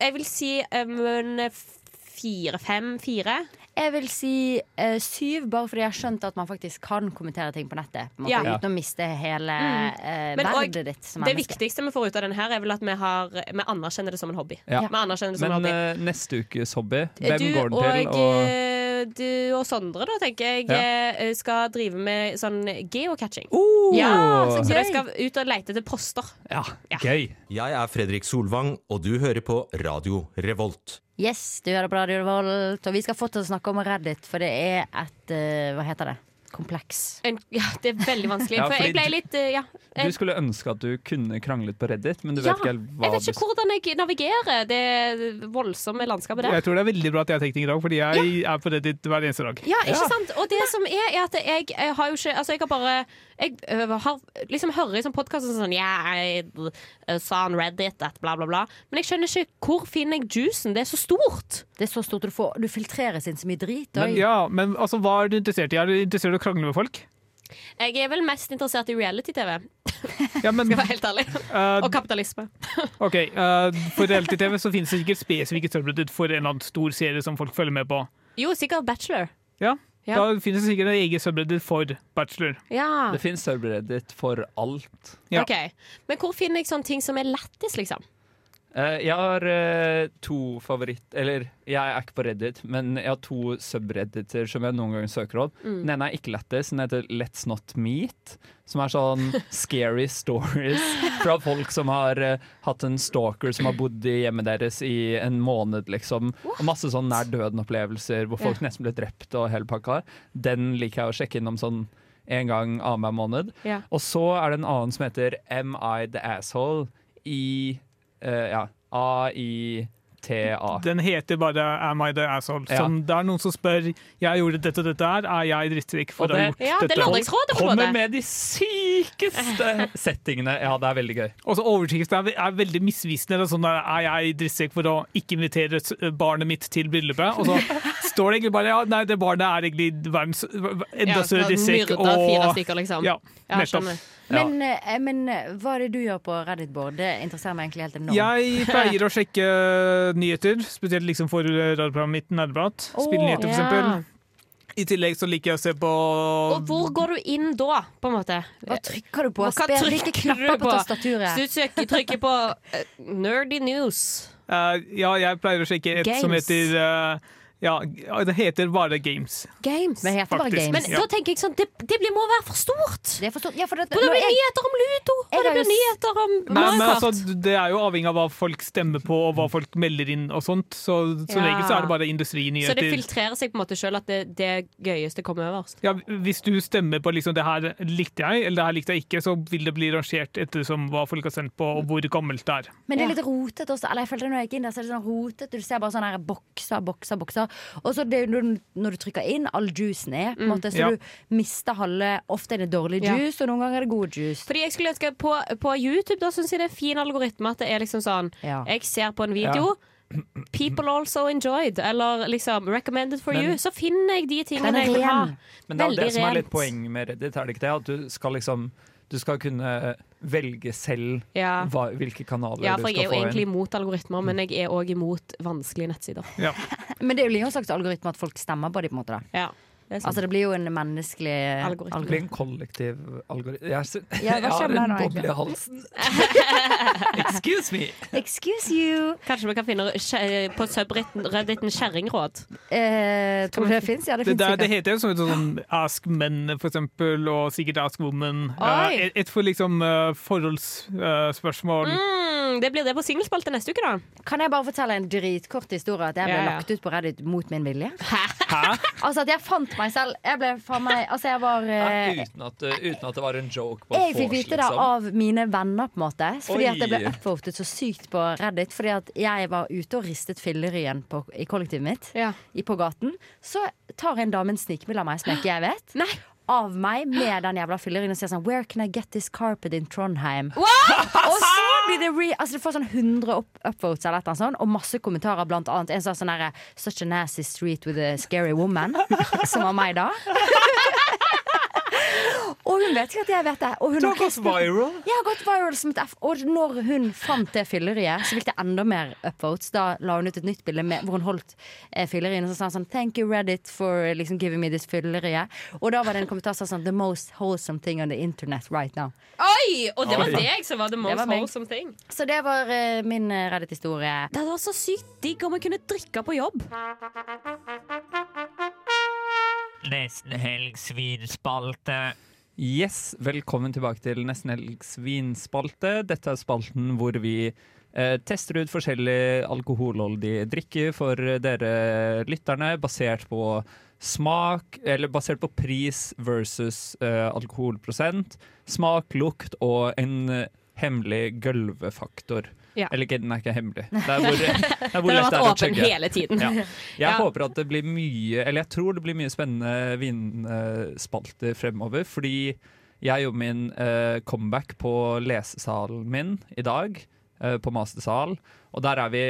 J: Jeg vil si um, fire, fem, fire.
H: Jeg vil si eh, syv, bare fordi jeg har skjønt at man faktisk kan kommentere ting på nettet. På en måte,
J: Ja.
H: Uten å miste hele
J: Mm.
H: eh,
J: Men og
H: verdet ditt som
J: det
H: menneske.
J: viktigste vi får ut av den her, er vel at vi, har, vi anerkjenner det som en hobby.
D: Ja.
J: Vi anerkjenner det som
D: Men
J: en hobby.
D: eh, neste ukes hobby, hvem
J: sånn du
D: går den til?
J: og,
D: Og
J: eh, Du og Sondre, da, tenker jeg,
D: Ja. Oh,
J: eh, skal drive med sånn geocaching.
I: Ja, så
J: så de
I: gøy.
J: skal ut og lete etter poster.
I: Gøy. Jeg er Fredrik Solvang, og du hører på Radio Revolt.
H: Yes, du hører på Radio Revolt, og vi skal fortsatt snakke om Reddit, for det er et eh, Hva heter det? Kompleks.
J: En, ja, det er veldig vanskelig.
D: Ja,
J: for jeg
D: fordi
J: ble
D: du-
J: litt eh, ja, eh,
D: du skulle ønske at du kunne kranglet på Reddit, men du
J: ja,
D: vet ikke helt hva
J: Jeg vet
D: du
J: ikke hvordan jeg navigerer det voldsomme landskapet der.
O: Jeg tror det er veldig bra at jeg har tekning i dag, fordi jeg er på Reddit hver eneste dag.
J: Ja, ikke sant? Og det som er, er at jeg, eh, har jo ikke Altså, jeg har bare Jeg ø, har, liksom hører i sånn podkast sånn Ja, jeg ø, sa han Reddit at bla, bla, bla. Men jeg skjønner ikke hvor finner jeg juicen? Det er så stort.
H: Det er så stort du får. Du filtreres inn så mye drit.
O: Men, ja, men altså, hva er du interessert i? Er du interessert i å krangle med folk?
J: Jeg er vel mest interessert i reality-TV.
O: Ja, men,
J: Skal være helt ærlig.
O: eh,
J: Og kapitalisme.
O: ok, eh, for reality-TV så finnes det sikkert spesifikke tørrbrudd for en eller annen stor serie som folk følger med på.
J: Jo, sikkert Bachelor.
O: Ja,
J: Ja.
O: Da finnes det sikkert en egen subreddit for bachelor.
J: Ja. Det
D: finnes subreddit for alt.
J: OK. Men hvor finner jeg sånne ting som er lættis, liksom?
D: Eh, jeg har eh, to favoritt... Eller, jeg er ikke på Reddit, men jeg har to subredditer som jeg noen ganger søker opp.
O: Mm.
D: Den ene er ikke lættis, den heter Let's Not Meet. Som er sånn scary stories fra folk som har eh, hatt en stalker som har bodd i hjemmet deres i en måned, liksom. Og masse sånn nær døden-opplevelser hvor folk
O: Ja.
D: nesten ble drept og hele pakka. Den liker jeg å sjekke innom sånn en gang annenhver måned.
O: Ja.
D: Og så er det en annen som heter Am I the Asshole? I eh, ja, A-I-T-A.
O: Den heter bare Am I the asshole?
D: Ja.
O: Som det er noen som spør Jeg gjorde dette og dette her, er jeg drittsekk
D: Og
O: for å ha
D: det-
O: gjort
D: Ja, det
O: dette?
D: er lørdagsrådet, på en måte. Kommer med de sykeste settingene. Ja, det er veldig gøy.
O: Og så overskrift er, er veldig misvisende. Det er sånn der, er jeg drittsekk for å ikke invitere s- barnet mitt til bryllupet? Og så står det egentlig bare ja, nei, det barnet er egentlig verdens enda
S: Ja,
O: større drittsekk.
S: myrda fire
O: og-
S: stykker, liksom.
O: Ja,
S: Ja,
O: nettopp.
S: skjønner.
O: Ja.
H: Men, eh, men eh, hva er det du gjør på Reddit-board? Det interesserer meg egentlig helt enormt.
O: Jeg pleier å sjekke eh, nyheter, spesielt liksom for radioprogrammet mitt Nerdeprat.
J: Åh,
O: Spillnyheter, for
J: ja.
O: eksempel. I tillegg så liker jeg å se på
J: Og hvor går du inn da, på en måte?
H: Hva trykker du på?
J: eh,
H: Spe-
J: Hva trykker
H: hvilke knapper
J: du
H: på tastaturet?
J: Hvis du søker- trykker på eh, nerdy news
O: Eh, ja, jeg pleier å sjekke et som
J: Games.
O: heter eh, Ja, det heter bare Games.
J: Games.
O: Det heter bare Faktisk, Games.
J: Men
O: ja.
J: da tenker jeg sånn, det, det blir- må være for stort!
H: Det er for stort. Ja, for det,
J: For det
H: når
J: blir
H: jeg-
J: nyheter om
H: Jeg
J: Ludo, og det
H: har jo
J: blir nyheter om
O: Nei, men
J: Mario
O: altså,
J: Kart.
O: det er jo avhengig av hva folk stemmer på, og hva folk melder inn og sånt. Så som
J: Ja.
O: regel så er det bare
J: Så det
O: industrinyheter.
J: filtrerer seg på en måte sjøl at det, det gøyeste kommer øverst.
O: Ja, hvis du stemmer på liksom, det her likte jeg, eller det her likte jeg ikke, så vil det bli rangert ettersom hva folk har sendt på, og hvor gammelt det er.
H: Men det er litt rotete også. Eller jeg følte det når jeg gikk inn der, så er det sånn rotete. Du ser bare sånne her bokser, bokser, bokser. Og så det, når, når du trykker inn, all juicen er, på en måte, så
J: Ja.
H: du mister halve Ofte er det dårlig
J: Ja.
H: juice, og noen ganger er det god juice.
J: Fordi jeg skulle ønske at på, på YouTube da syns jeg det er fin algoritme at det er liksom sånn
H: Ja.
J: Jeg ser på en video. People also enjoyed, eller liksom recommended for
D: Men-
J: you. Så finner jeg de
D: Den er
J: tingene jeg vil ha.
D: ren. Men det er jo det
J: Veldig
D: som er litt
J: rent.
D: poenget med Reddit, er det ikke det? At du skal liksom Du skal kunne velge selv
J: Ja.
D: hva, hvilke kanaler
J: Ja,
D: du
J: for jeg
D: skal
J: er jo
D: få
J: egentlig
D: inn.
J: imot algoritmer, men jeg er òg imot vanskelige nettsider.
O: Ja.
H: Men det er jo en slags algoritme at folk stemmer på dem, på en måte. Da.
J: det er sant.
H: altså det blir jo en menneskelig algoritme.
D: Det blir en kollektiv algoritme. Jeg, sy-
H: Ja, hva
D: jeg har
H: skjer med deg
D: en
H: nå,
D: boble i
H: egentlig?
D: halsen. Excuse me!
H: Excuse you.
J: Kanskje vi kan finne skje- eh, på subredditen kjerringråd.
H: Eh, tror du det fins? Ja, det
O: Det,
H: fins
O: der, det
H: sikkert.
O: heter jo sånn, sånn Ask Men, for eksempel, og sikkert Ask Woman.
J: Oi.
O: Eh, et, et for liksom forholdsspørsmål.
J: Mm, det blir det på singelspalte neste uke, da.
H: Kan jeg bare fortelle en dritkort historie? At jeg ble
J: Ja, ja.
H: lagt ut på Reddit mot min vilje?
D: Hæ?
H: Altså at jeg fant meg selv. Jeg ble faen meg Altså jeg var eh,
D: Nei, uten, at, uten at det var en joke på
H: Jeg
D: vors,
H: fikk vite det
D: liksom.
H: av mine venner, på en måte. Fordi at jeg ble
D: Oi.
H: upvotet så sykt på Reddit. Fordi at jeg var ute og ristet filleryen på, i kollektivet mitt, i, på gaten. Så tar en dame en snikmiddel av meg som jeg ikke jeg vet. Av meg med den jævla filleryen og sier sånn Where can I get this carpet in Trondheim? Og så blir det re... Altså, du får sånn 100 up upvotes eller et eller annet sånt, og masse kommentarer, blant annet. En sa sånn herre Such a nasty street with a scary woman. Som var meg da. Og hun vet ikke at jeg vet det. Og hun
D: Du har gått viral.
H: Jeg har gått viral som et F. Og når hun fant det fylleriet, så fikk det enda mer upvotes. Da la hun ut et nytt bilde med, hvor hun holdt eh, fylleriet, og så sa hun sånn Thank you, Reddit, for eh, liksom, giving me this fylleriet. Og da var det en kommentar som sa sånn The most wholesome thing on the internet right now.
J: Oi! Og det var
H: Oi.
J: deg som var the
H: Det
J: most
H: var meg.
J: wholesome thing.
H: Så det var eh, min eh, Reddit-historie.
J: Det hadde vært så sykt digg om vi kunne drikke på jobb.
D: Nesten helg svinspalte. Yes, velkommen tilbake til Nesten helg svinspalte. Dette er spalten hvor vi eh, tester ut forskjellig alkoholholdig drikke for dere lytterne, basert på smak, eller basert på pris versus eh, alkoholprosent. Smak, lukt og en eh, hemmelig gølvefaktor.
J: Ja.
D: Eller ikke, den er ikke hemmelig. Det er hvor, det er hvor
J: Den har
D: lett det er å
J: vært åpen
D: chugge.
J: hele tiden.
D: Ja. Jeg
J: Ja.
D: håper at det blir mye Eller jeg tror det blir mye spennende vinspalter fremover. Fordi jeg gjorde min eh, comeback på lesesalen min i dag, eh, på mastersal. Og der er vi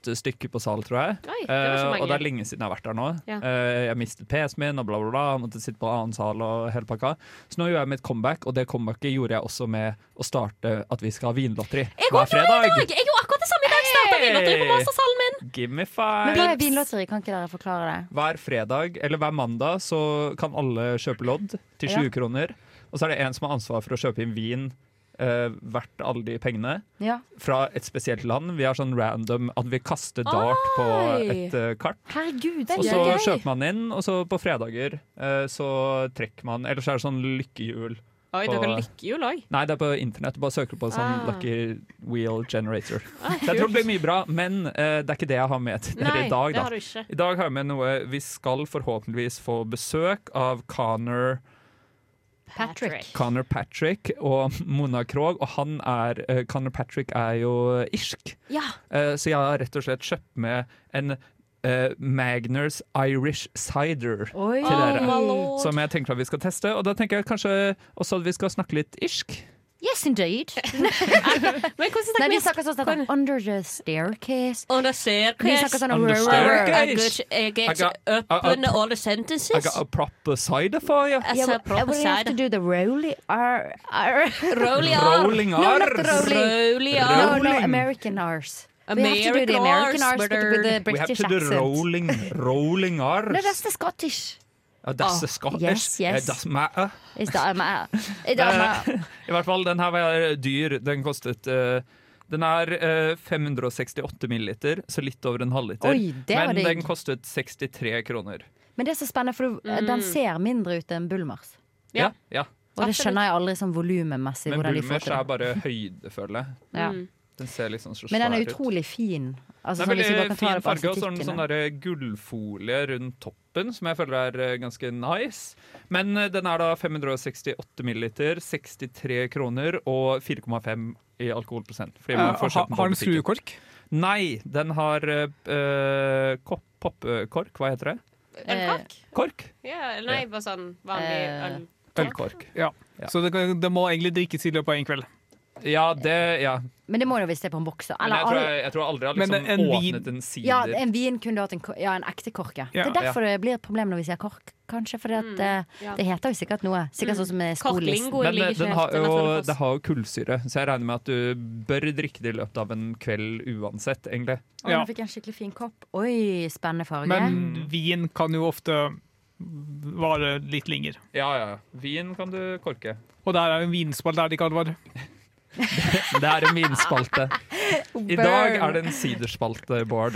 D: åtte stykker på sal, tror jeg.
L: Oi, det var så
D: Eh,
L: mange.
D: og det er lenge siden jeg har vært der nå.
L: Ja.
D: Eh, jeg mistet PC-en min og bla, bla, bla. Måtte sitte på en annen sal og hele pakka. Så nå gjør jeg mitt comeback, og det comebacket gjorde jeg også med å starte at vi skal ha vinlotteri
J: Jeg går til i dag! Jeg gjorde akkurat det samme i dag. Starta vinlotteri på
D: Hey!
J: mastersalen min.
D: Give me
H: Men hva er
D: five!
H: vinlotteri? Kan ikke dere forklare det?
D: Hver fredag, eller hver mandag, så kan alle kjøpe lodd til 20
H: Ja.
D: kroner. Og så er det en som har ansvar for å kjøpe inn vin eh, verdt alle de pengene.
H: Ja.
D: Fra et spesielt land. Vi har sånn random at vi kaster dart på
H: Oi!
D: et eh, kart.
H: Herregud, det
D: Og så
H: er gøy!
D: kjøper man inn, og så på fredager eh, så trekker man Eller så er det sånn lykkehjul.
J: Oi,
D: på-
J: dere liker jo lag.
D: Nei, det er på internett. Du bare søker på sånn
J: Ah.
D: Lucky Wheel Generator.
J: Ah,
D: så jeg tror
J: kult.
D: det blir mye bra, men eh, det er ikke det jeg har med til dere
J: Nei,
D: i dag.
J: det
D: Da.
J: har du ikke.
D: I dag har jeg med noe Vi skal forhåpentligvis få besøk av Connor
H: Patrick.
D: Connor Patrick og Mona Krogh, og han er eh, Connor Patrick er jo irsk.
J: Ja.
D: Eh, Så jeg har rett og slett kjøpt med en eh, Magners Irish Cider
H: Oi.
D: til
H: Oh,
D: dere.
H: my lord.
D: som jeg tenker at vi skal teste. Og da tenker jeg kanskje også at vi skal snakke litt irsk.
H: Yes, indeed.
J: Men hvordan
H: Nei, vi snakker sånn snakker Under the staircase.
J: Under staircase.
H: Vi snakker sånn
D: Under
H: rrr,
D: staircase.
H: rrr.
J: Jeg get, I
D: I
J: get
D: got-
J: up
D: I- I-
J: under all the
D: I
J: sentences.
D: got a proper cider for you.
J: As
H: Yeah,
J: a
H: but-
J: proper
H: but we have to
J: cider.
H: do the rolly r r
J: Rolly R.
D: Rolling
H: No, not the
D: Rs.
H: rolly.
J: Rolly
H: No, no,
D: Rolling.
H: American R's. We have to do the
J: American
H: American
J: Rs,
H: R's, but
J: brother.
H: with the
D: We have
H: British
D: to do
H: accent.
D: rolling, rolling Rs.
H: No, that's the Scottish.
D: Ja, that's
H: Ah,
D: Scottish.
H: yes, yes.
D: It doesn't matter.
H: Is that I'm out? Is that I'm out?
D: Eh, I hvert fall, den her var eh, dyr. Den kostet eh, Den er eh, 568 milliliter, så litt over en halvliter.
H: Oi, det var
D: Men
H: digg.
D: den kostet 63 kroner.
H: Men det er så spennende, for du- eh,
J: Mm.
H: den ser mindre ut enn Bullmars.
D: Ja. ja.
H: Og det skjønner jeg aldri sånn volumemmessig
D: Men
H: hvordan de får
D: Bulmers
H: til
D: er
H: det.
D: bare høydefølge.
H: Ja.
J: Mm.
D: Den ser liksom så svær ut.
H: Men den er utrolig fin. Altså,
D: det
H: sånn,
D: er
H: hvis du bare
D: veldig
H: kan ta
D: fin
H: det på
D: farge og sånn, sånn
H: estetikken.
D: der gullfolie rundt toppen, som jeg føler er eh, ganske nice. Men eh, den er da 568 milliliter, 63 kroner og 4,5 i alkoholprosent. fordi man
O: Eh,
D: får
O: ha-
D: kjøpt den på
O: har den
D: butikken.
O: skruekork?
D: Nei, den har eh, eh, kopp- poppekork, hva heter det?
J: Ølkork?
D: Kork?
J: Ja, eller nei, bare sånn vanlig
O: Eh.
J: øl.
D: Ølkork.
O: Ja. Så det, kan- det må egentlig drikkes i løpet av en kveld.
D: Ja, det Ja.
H: Men det må jo hvis det er på en boks. da.
D: Men jeg
H: Eller
D: tror,
H: all-
D: jeg, jeg tror aldri jeg har
O: Men
D: liksom
O: en vin-
D: åpnet en sider.
H: Ja, en vin kunne du hatt en, ko- ja, en ekte kork, ja.
D: Ja.
H: Det er derfor det blir et problem når vi sier kork, kanskje. For
J: Mm, ja. Mm.
H: det heter jo sikkert noe. Sikkert sånn som med skolelissen.
D: Men eh, den har jo, det har jo kullsyre, så jeg regner med at du bør drikke det i løpet av en kveld uansett, egentlig.
H: Å, nå fikk jeg en skikkelig fin kopp. Oi, spennende farge.
O: Men vin kan jo ofte vare litt lenger.
D: Ja, ja. Vin kan du korke.
O: Og der er en vinspall der det ikke advarer.
D: Det er en vinspalte.
J: Oh,
D: I dag er det en siderspalte, Bård.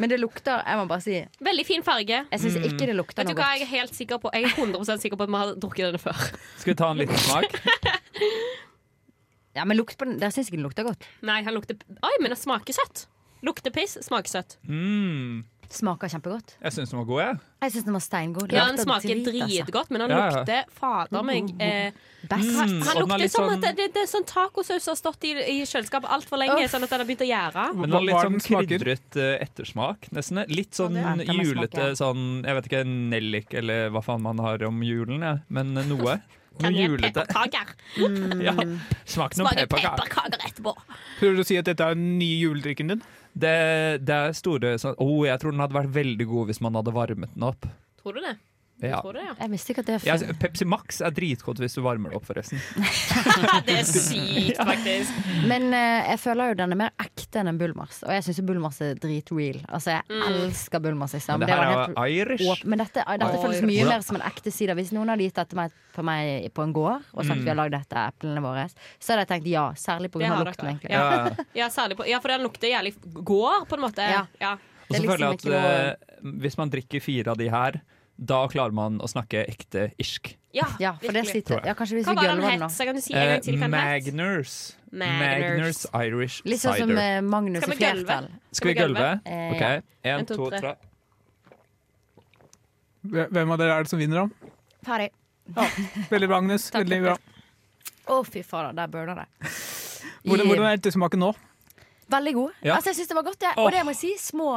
H: Men det lukter, jeg må bare si
J: Veldig fin farge.
H: Jeg
D: Mm.
H: syns ikke det lukter
J: Vet
H: noe
J: du hva,
H: godt.
J: jeg er helt sikker på Jeg er 100 sikker på at vi har drukket denne før.
D: Skal vi ta en liten smak?
H: Ja, men lukt på den. Der syns jeg den lukter godt.
J: Nei, han lukter Oi, men den smaker søtt. Lukter piss, smaker søtt.
D: Mm.
H: Smaker kjempegodt.
D: Jeg syns den var god, jeg.
H: Jeg syns den var steingod.
J: Ja,
H: Lukter
J: den smaker
H: drit, altså.
J: dritgodt, men han
D: Ja, ja.
J: lukter fader meg eh,
H: Best.
J: Han,
D: Mm, og
J: han
D: den er
J: lukter
D: litt
J: som
D: sånn-
J: at det, det, det er sånn tacosaus som har stått i, i kjøleskapet altfor lenge,
H: Uff.
J: sånn at den har begynt å gjære.
D: Men det var litt sånn
O: smaker?
D: krydret eh, ettersmak, nesten. Litt sånn
J: Ja, det- Ja, den smaker,
D: julete
J: ja.
D: sånn Jeg vet ikke, nellik eller hva faen man har om julen, jeg. Men eh, noe. Noe
J: Kan jeg
D: julete.
J: pepperkaker?
D: Mm.
H: Mm.
D: Ja. Smak noen
J: Smaker
D: pepperkaker.
J: pepperkaker etterpå.
O: Prøver du å si at dette er den nye juledrikken din?
D: Det, det er store sånn, oh, Jeg tror den hadde vært veldig god hvis man hadde varmet den opp.
J: Tror du det?
D: Ja.
J: Tror du det, ja.
H: Jeg visste ikke at det
D: Ja, altså, Pepsi Max er dritgodt hvis du varmer det opp, forresten.
J: Det er sykt, faktisk.
H: Men eh, jeg føler jo den er mer ekte enn en Bullmars. Og jeg syns Bullmars er dritreal. Altså, jeg
J: Mm.
H: elsker Bullmars. Liksom.
D: Men det
H: var
D: her er
H: helt
D: jo Irish.
H: åp- Men dette, eh, dette
D: Oi.
H: føles mye
D: Hvordan-
H: mer som en ekte sider. Hvis noen hadde gitt dette meg, på meg på en gård, og sagt
J: Mm.
H: vi har lagd dette av eplene våre, så hadde jeg tenkt ja. Særlig
J: Det
H: pga.
J: har
H: lukten,
J: dere.
H: egentlig.
J: Ja. Ja, særlig på, ja, for den lukter jævlig gård, på en måte.
H: Ja.
J: Ja.
D: Og
H: liksom
J: liksom
D: så føler jeg at eh, hvis man drikker fire av de her, da klarer man å snakke ekte irsk.
J: Ja,
H: Ja, for det
J: virkelig.
H: sliter. Ja, kanskje hvis
J: Hva
H: vi
J: var
H: gulver
J: den
H: den
J: het?
H: nå.
J: Så kan du si en gang
D: Eh,
J: til hva den het?
D: Magners.
J: Magners.
D: Magners Irish
H: Litt sånn som
D: Cider.
H: eh, Magnus
J: Skal
H: i
J: vi gulve?
H: flertall.
D: Skal vi gulve?
H: Eh,
D: OK.
H: ja.
D: Én, to, tre.
O: Hvem av dere er det som vinner, da?
H: Ferdig.
O: Veldig bra, Agnes. Veldig bra.
H: Å, fy fader, der burna det.
O: Hvordan, hvordan er ettersmaken nå?
H: Veldig god.
O: Ja.
H: Altså, jeg syns det var godt. Jeg.
O: Åh.
H: Og det må jeg si, små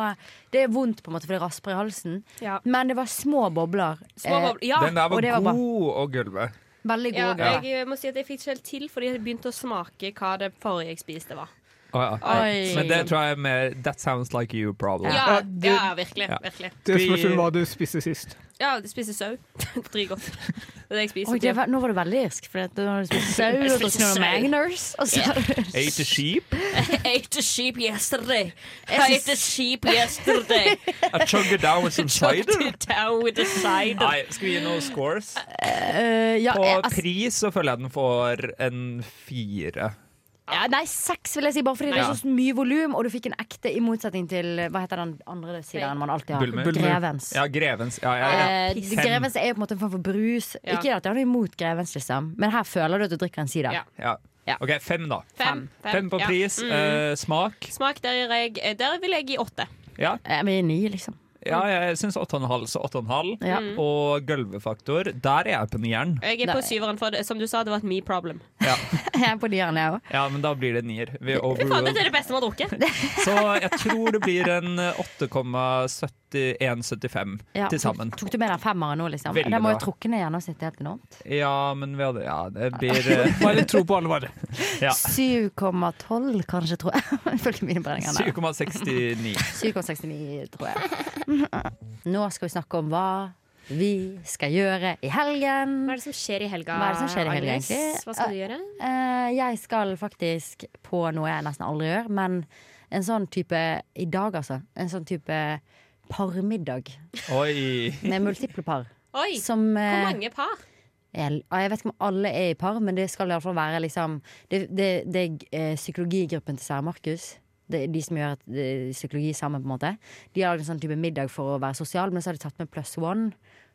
H: Det er vondt på en måte, for det rasper i halsen. Men det var små bobler.
J: Små
H: eh,
J: bobler, ja.
D: Den der
H: og
D: var,
H: det var bra.
D: god å gulve.
H: Veldig
J: Ja,
H: god. Ja,
J: jeg eh, må si at jeg fikk ikke helt til, fordi jeg begynte å smake hva det forrige jeg spiste var.
D: Å, ja.
H: Eh,
J: Oi.
D: Men det tror jeg er mer That sounds like you problem.
J: Ja, ja virkelig.
D: Ja.
J: virkelig.
O: Det spørs vel hva du spiste sist.
J: Ja, jeg spiser sau. Dritgodt. Det er det jeg spiser.
H: Oi,
J: til.
H: det var, nå var du veldig irsk, for at du har spist sau
J: Jeg
H: og
J: spiste
H: drukket noen
J: sau.
H: Magners. Og så
J: Ja.
D: Ate a sheep,
J: I ate a sheep yesterday. I ate a sheep yesterday.
D: a chug it down with some cider.
J: It down with the cider.
D: Nei, skal vi gi noen scores?
H: Eh, ja,
D: På
H: jeg, altså,
D: pris så føler jeg den får en fire.
H: ja, nei, seks vil jeg si, bare fordi det
D: Ja.
H: er så mye volum, og du fikk en ekte, i motsetning til hva heter den andre siden man alltid har?
D: Bulmer.
H: Grevens.
D: Ja, Grevens. Ja, ja, ja.
H: Eh, grevens er jo på en måte en form for brus.
J: Ja.
H: Ikke at jeg har noe imot grevens, liksom, men her føler du at du drikker en sider.
J: Ja.
D: Ja. OK, fem, da.
J: Fem. Fem.
D: Fem på
J: Ja.
D: pris.
J: Mm.
D: eh, smak.
J: Smak, der, gir jeg, eh, der vil jeg gi åtte.
D: Ja.
H: Men ni, liksom.
D: Ja, jeg syns 8,5, så 8,5.
J: Ja.
D: Og gulvefaktor, der er jeg på nieren.
J: Jeg er på syveren, for det, som du sa, det var et me problem.
D: Ja.
H: Jeg er på nieren, jeg òg.
D: ja, men da blir det nier. Vi
J: Fy faen, dette
D: overruled.
J: er det beste vi har drukket.
D: Så jeg tror det blir en eh, 8,17 71,75
H: Ja,
D: til sammen.
H: Tok, tok du med deg femmeren nå, liksom?
D: Veldig
H: Den må jo
D: bra.
H: trukke ned gjennomsnittet helt enormt.
D: Ja, men vi hadde, ja, det blir eh,
C: Bare tro på alle varer.
D: Ja.
H: 7,12 kanskje, tror jeg. Ifølge mine beregninger. der.
D: 7,69.
H: 7,69, tror jeg. Nå skal vi snakke om hva vi skal gjøre i helgen.
J: Hva er det som skjer i helga?
H: Mm. Hva er det som skjer i helgen,
J: Agnes?
H: egentlig?
J: Hva skal du gjøre?
H: Eh, jeg skal faktisk på noe jeg nesten aldri gjør, men en sånn type i dag, altså. En sånn type parmiddag
D: Oi.
H: med multiple par.
J: Oi,
H: Som, eh,
J: hvor mange par?
H: Jeg, ah, jeg vet ikke om alle er i par, men det skal iallfall være liksom Det, det, det er eh, psykologigruppen til Sær Markus. Det er de som gjør at, eh, psykologi sammen, på en måte. De har en sånn type middag for å være sosial, men så har de tatt med pluss one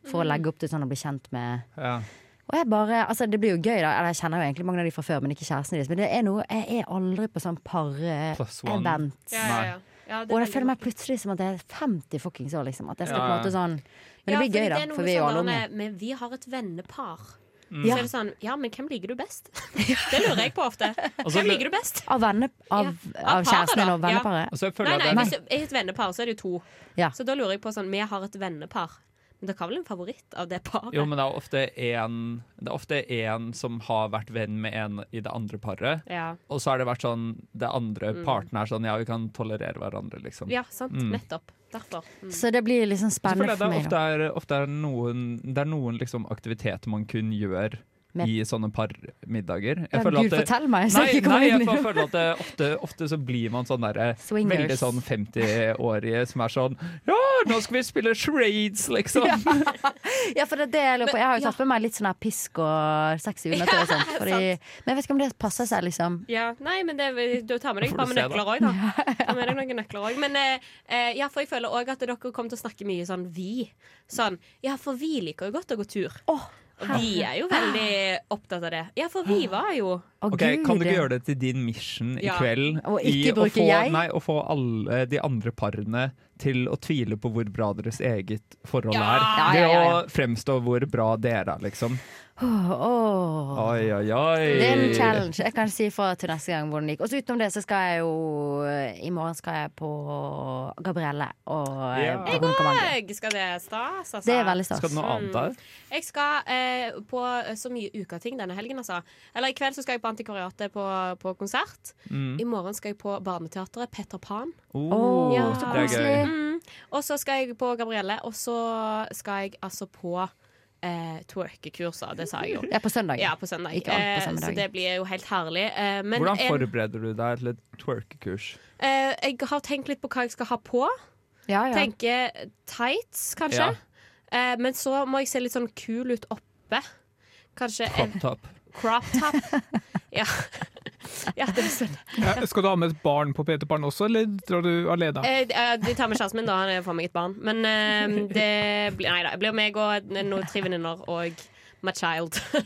H: for å
J: Mm.
H: legge opp til sånn å bli kjent med
D: Ja.
H: og jeg bare, altså Det blir jo gøy, da. Eller jeg kjenner jo egentlig mange av de fra før, men ikke kjæresten deres. Men det er noe, jeg er aldri på sånn
D: Plus one.
H: par-event.
D: Ja, ja, ja.
J: Ja, det
H: og
J: er
H: jeg
J: veldig
H: føler meg plutselig som at jeg er 50 fuckings år, liksom. At jeg skal
J: Ja,
H: på en
J: ja.
H: måte sånn Men det blir
J: Ja, fordi
H: gøy, da.
J: er noe
H: For vi er jo
J: sånn
H: alle unge.
J: der, Men vi har et vennepar.
H: Mm.
J: Så
H: Ja.
J: er det sånn Ja, men hvem liker du best? Det lurer jeg på ofte.
D: så
J: Hvem
D: lu-
J: liker du best?
H: Av, venne, av, av
J: eh, paret,
H: kjæresten
J: da.
H: din og
J: Ja. Mm.
H: venneparet.
D: Og så føler
J: Nei,
D: jeg
J: nei,
D: at
J: hvis
D: det-
J: det er et vennepar, så er det jo to.
H: Ja.
J: Så da lurer jeg på sånn Vi har et vennepar. Men dere har vel en favoritt av det paret?
D: Jo, men det er ofte en, det er ofte en som har vært venn med en i det andre paret.
J: Ja.
D: Og så har det vært sånn Det andre
J: Mm.
D: parten er sånn Ja, vi kan tolerere hverandre, liksom.
J: Ja, sant.
D: Mm.
J: Nettopp. Derfor. Mm.
H: Så det blir liksom
D: Så føler
H: spennende
D: jeg det
H: for
D: er
H: meg.
D: ofte
H: Da.
D: er, ofte er noen, det er noen liksom aktiviteter man kun gjør
H: Med-
D: i sånne parmiddager.
H: Ja, Gud, fortell meg, så
D: nei,
H: jeg ikke kommer
D: nei,
H: inn
D: jeg
H: i
D: bare
H: det.
D: føler at det, ofte, ofte så blir man sånn derre
H: Swingers.
D: veldig sånn 50-årige som er sånn Ja, nå skal vi spille charades, liksom!
H: Ja, for det er det jeg lurer på. Jeg har jo tatt med meg litt sånn her pisk og sexy undertøy og sånt.
J: Ja,
H: Fordi, men jeg vet ikke om det passer seg, liksom.
J: Ja, nei, men det, du tar med deg
H: Får du
J: et par med
H: se, da.
J: nøkler òg, da. Ta med deg noen nøkler også. Men eh, eh, ja, for jeg føler òg at dere kommer til å snakke mye sånn vi. Sånn ja, for vi liker jo godt å gå tur. Og vi er jo veldig opptatt av det. Ja, for vi var jo
D: Ok, Kan du ikke gjøre det til din mission i
J: Ja.
D: kveld?
J: Og
D: i
J: ikke
D: å
J: bruke
D: få,
J: jeg?
D: Nei, å få alle de andre parene til å tvile på hvor bra deres eget forhold
H: Ja.
D: er.
H: Ja, ja, ja, ja.
D: Ved å fremstå hvor bra dere er, liksom.
H: Åh, åh.
D: Oi, oi, oi.
H: Det er en challenge. Jeg kan si fra til neste gang hvordan det gikk. Og så utenom det så skal jeg jo eh, I morgen skal jeg på Gabrielle og eh,
J: Ja. Jeg
H: Baron Commando.
J: òg skal det. Stas, altså.
H: Det er veldig stas.
D: Skal du noe annet der?
J: Jeg skal eh, på eh, så mye ukating denne helgen, altså. Eller i kveld så skal jeg på Antikvariatet på, på konsert.
D: Mm.
J: I morgen skal jeg på Barneteatret. Peter Pan.
D: Oh,
J: Ja.
D: så det er gøy.
J: Mm. Og så skal jeg på Gabrielle, og så skal jeg altså på eh, twerkekurser. Det sa jeg jo.
H: Ja, på søndag.
J: Ja, på søndag.
H: Ikke alt på
J: Eh,
H: samme
J: så
H: dag.
J: det blir jo helt herlig. Eh, men
D: Hvordan
J: en-
D: forbereder du deg til et twerkekurs?
J: Eh, jeg har tenkt litt på hva jeg skal ha på.
H: Ja, ja.
J: Tenker tights, kanskje.
D: Ja.
J: Eh, men så må jeg se litt sånn kul ut oppe. Kanskje
D: Crop
J: en
D: top.
J: crop top. ja. ja, det er sånn.
C: Ja, skal du ha med et barn på Peter Pan også, eller drar du alene?
J: Eh, eh, de tar med kjæresten min, da. Han er for meg et barn. Men eh, det blir Nei da. Det blir meg og noen tre venninner og my child. my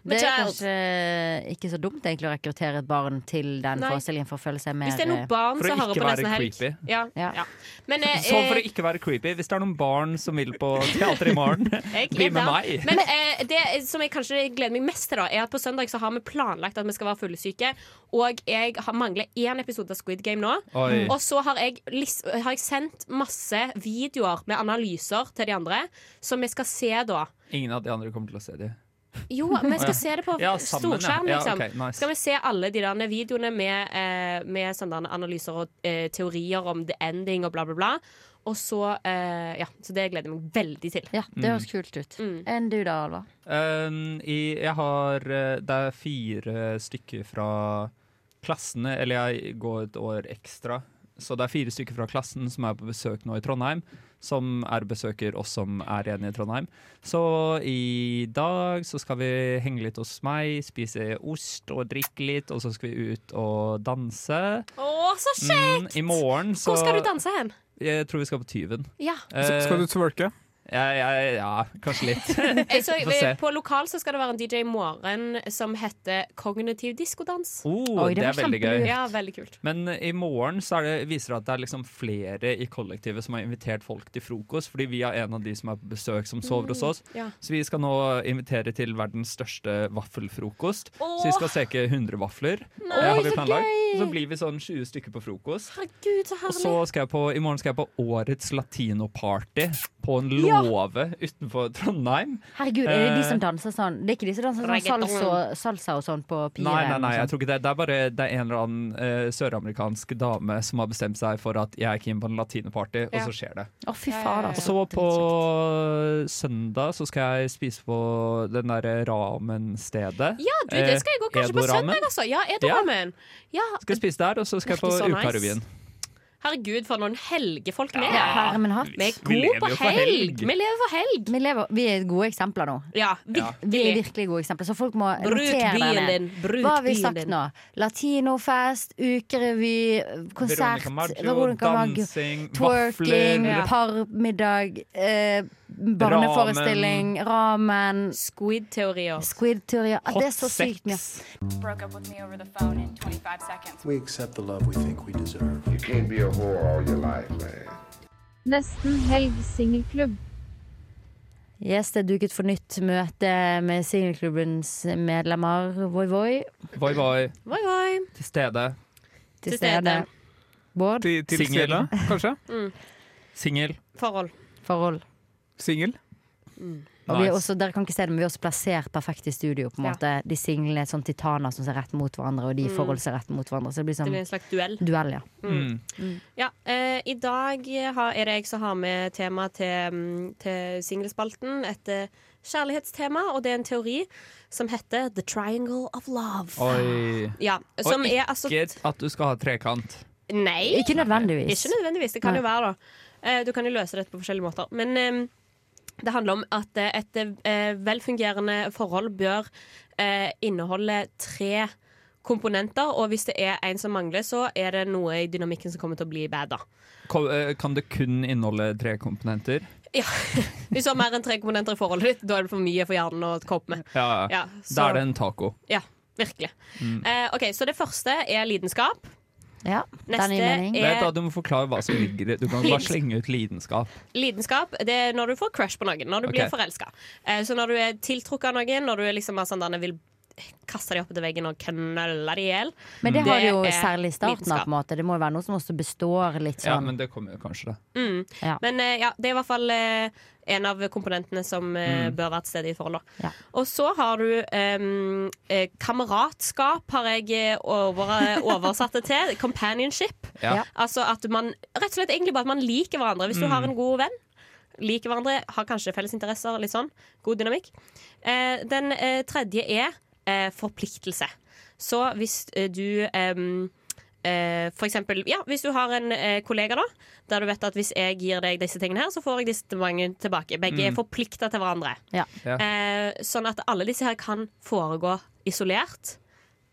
H: Det er
J: child.
H: kanskje ikke så dumt egentlig å rekruttere et barn til den
J: Nei.
H: forestillingen for å føle seg mer eh,
J: Hvis det er noen barn
D: For å
J: som hører
D: ikke
J: på
D: være
J: nesten helg.
D: creepy.
J: Ja, ja. Men, eh,
D: Sånn for
J: eh,
D: å ikke være creepy. Hvis det er noen barn som vil på teater i morgen,
J: Jeg
D: bli
J: er
D: med
J: der.
D: meg.
J: Men eh, det som jeg kanskje gleder meg mest til, da, er at på søndag så har vi planlagt at vi skal være fuglesyke. Og jeg har mangler én episode av Squid Game nå.
D: Oi.
J: Og så har jeg, lis- har jeg sendt masse videoer med analyser til de andre, som vi skal se da.
D: Ingen av de andre kommer til å se de.
J: Jo, vi
D: Ja.
J: skal se det på
D: Ja, sammen, ja.
J: storskjerm,
D: Ja,
J: liksom.
D: ok, nice.
J: Skal vi se alle de der videoene med, eh, med sånne der analyser og eh, teorier om the ending og bla, bla, bla. Og så eh, Ja, så det gleder jeg meg veldig til.
H: Ja,
D: Mm.
H: det høres kult ut.
J: Mm.
H: Enn du da, Alva?
D: Um, i, jeg har eh, Det er fire stykker fra klassene, eller jeg går et år ekstra. Så det er fire stykker fra klassen som er på besøk nå i Trondheim. Som er besøker oss som er igjen i Trondheim. Så i dag så skal vi henge litt hos meg, spise ost og drikke litt, og så skal vi ut og danse.
J: Å, så
D: Mm,
J: kjekt!
D: I morgen så
J: Hvor skal du danse hen?
D: Jeg tror vi skal på Tyven.
J: Ja.
D: Eh,
C: Skal du twerke?
D: Ja, ja, ja kanskje litt.
J: Jeg så, Eh, på lokal så skal det være en DJ i morgen som heter Kognitiv diskodans.
D: Oh, Oi, det, det, er veldig gøy.
J: Ja, veldig kult.
D: Men i morgen så det, viser det at det er liksom flere i kollektivet som har invitert folk til frokost, fordi vi er en av de som er på besøk som sover hos oss.
J: Mm, Ja.
D: Så vi skal nå invitere til verdens største vaffelfrokost.
J: Åh!
D: Så vi skal steke 100 vafler.
J: Nei,
D: eh, har vi
J: så
D: planlagt.
J: gøy!
D: Så blir vi sånn 20 stykker på frokost.
J: Herregud, så
D: Og
J: herlig.
D: så skal jeg på, I morgen skal jeg på årets latinoparty på en
H: Ja!
D: låve utenfor Trondheim.
H: Herregud, er det de som
D: Eh,
H: danser sånn? Det er ikke de som danser sånn
J: Reggaeton.
H: salsa, salsa og sånn på piren?
D: Nei, nei, nei,
H: og
D: jeg
H: sånn?
D: tror ikke det. Det er bare det er en eller annen eh, søramerikansk dame som har bestemt seg for at jeg er keen på en latinoparty, og
H: Ja.
D: så skjer det.
H: Å, fy faen,
D: Og
H: altså.
D: så på søndag så skal jeg spise på den derre ramen-stedet.
J: Ja, du, det skal jeg gå kanskje på
D: Edo-ramen.
J: søndag, altså. Ja,
D: eh, Ja.
J: Edo-ramen. Ja.
D: Skal jeg spise der, og så skal jeg på
J: Virkelig så nice.
D: Ukarevyen.
J: Herregud, for noen helgefolk vi
H: Ja,
J: er.
H: herre min hatt.
J: Vi er gode på helg. Vi lever for helg.
H: Vi, lever, vi er gode eksempler nå.
J: Ja,
H: Vi er
J: virkelig.
H: virkelig gode eksempler, så folk må
J: Bruk
H: notere det
J: bilen
H: ned.
J: din, bruk
H: Hva har vi
J: bilen
H: sagt
J: din.
H: nå? Latinofest, ukerevy, konsert
D: Veronica Maggio,
H: Maggio,
D: dansing,
H: twerking,
D: vafler.
H: parmiddag, eh, barneforestilling, ramen,
J: Squid-teorier.
H: Squid-teorier. Ah, det er så
J: Hot sex.
H: sykt mye.
S: Broke up with me over the phone in 25 seconds.
T: We accept the love we think we deserve. You can't be a whore all your life, man.
U: Nesten helg singelklubb.
H: Yes, det er duket for nytt møte med singelklubbens medlemmer. Voi, voi.
D: Voi, voi.
J: Voi, voi.
D: Til stede.
H: Til stede. Bård.
O: Til, til
D: Singel.
O: stede, kanskje?
J: Mm.
D: Singel.
J: Forhold.
H: Forhold.
O: Singel?
H: Og vi
O: Nice.
H: er også, dere kan ikke se det, men vi er også plassert perfekt i studio. på en
J: Ja.
H: måte De singlene er sånn titaner som ser rett mot hverandre, og de i
J: Mm.
H: forhold ser rett mot hverandre. Så det blir
J: Det
H: sånn
J: blir en slags duell.
H: duell, ja.
J: Mm. Ja, eh, I dag har, er det jeg som har med tema til, mm, til singelspalten. Et eh, kjærlighetstema, og det er en teori som heter The Triangle of Love.
D: Oi.
J: Ja, som
D: og
J: er
D: ikke
J: altså
D: at du skal ha trekant.
J: Nei.
H: Ikke nødvendigvis.
J: Ikke nødvendigvis. Det kan
H: Nei.
J: jo være, da. Eh, Du kan jo løse dette på forskjellige måter. Men eh, det handler om at eh, et eh, velfungerende forhold bør eh, inneholde tre komponenter, og hvis det er en som mangler, så er det noe i dynamikken som kommer til å bli bad, da.
D: Ko- eh, Kan det kun inneholde tre komponenter?
J: Ja. Hvis du har mer enn tre komponenter i forholdet ditt, da er det for mye for hjernen å kope med.
D: Ja,
J: Ja,
D: Da
J: så-
D: er det en taco.
J: Ja, virkelig.
D: Mm.
J: Eh, OK, så det første er lidenskap.
H: Ja,
J: Neste
D: Vet
J: er
D: da, Du må forklare hva som ligger i Du kan bare
J: Lidenskap.
D: slenge ut lidenskap.
J: lidenskap. Det er når du får crush på noen, når du
D: Ok.
J: blir forelska. Eh, så når du er tiltrukket av noen, når du er liksom bare sånn der, vil kaste dem opp etter veggen og knølle dem i hjel
H: Men det, har du jo
J: er
H: særlig i starten av, på en måte. Det må jo være noe som også består litt
D: Ja,
H: sånn.
D: men det kommer jo kanskje, da.
J: Mm.
H: Ja.
J: Men eh, ja, det er i hvert fall eh, en av komponentene som eh,
D: Mm.
J: bør være til stede i forhold. da.
H: Ja.
J: Og så har du ehm, eh, kameratskap, har jeg eh, over, oversatt det til. Companionship.
D: Ja. Ja.
J: Altså at man rett og slett egentlig bare at man liker hverandre. Hvis du
D: Mm.
J: har en god venn, liker hverandre, har kanskje felles interesser, litt sånn. God dynamikk. Eh, den eh, tredje er eh, forpliktelse. Så hvis eh, du ehm, Eh, for eksempel, ja, hvis du har en eh, kollega da Der du vet at hvis jeg gir deg disse tingene her Så får jeg disse tilbake, tilbake. Begge
H: Mm.
J: er forpliktet til hverandre
H: Ja.
J: eh, Sånn at alle disse her kan foregå isolert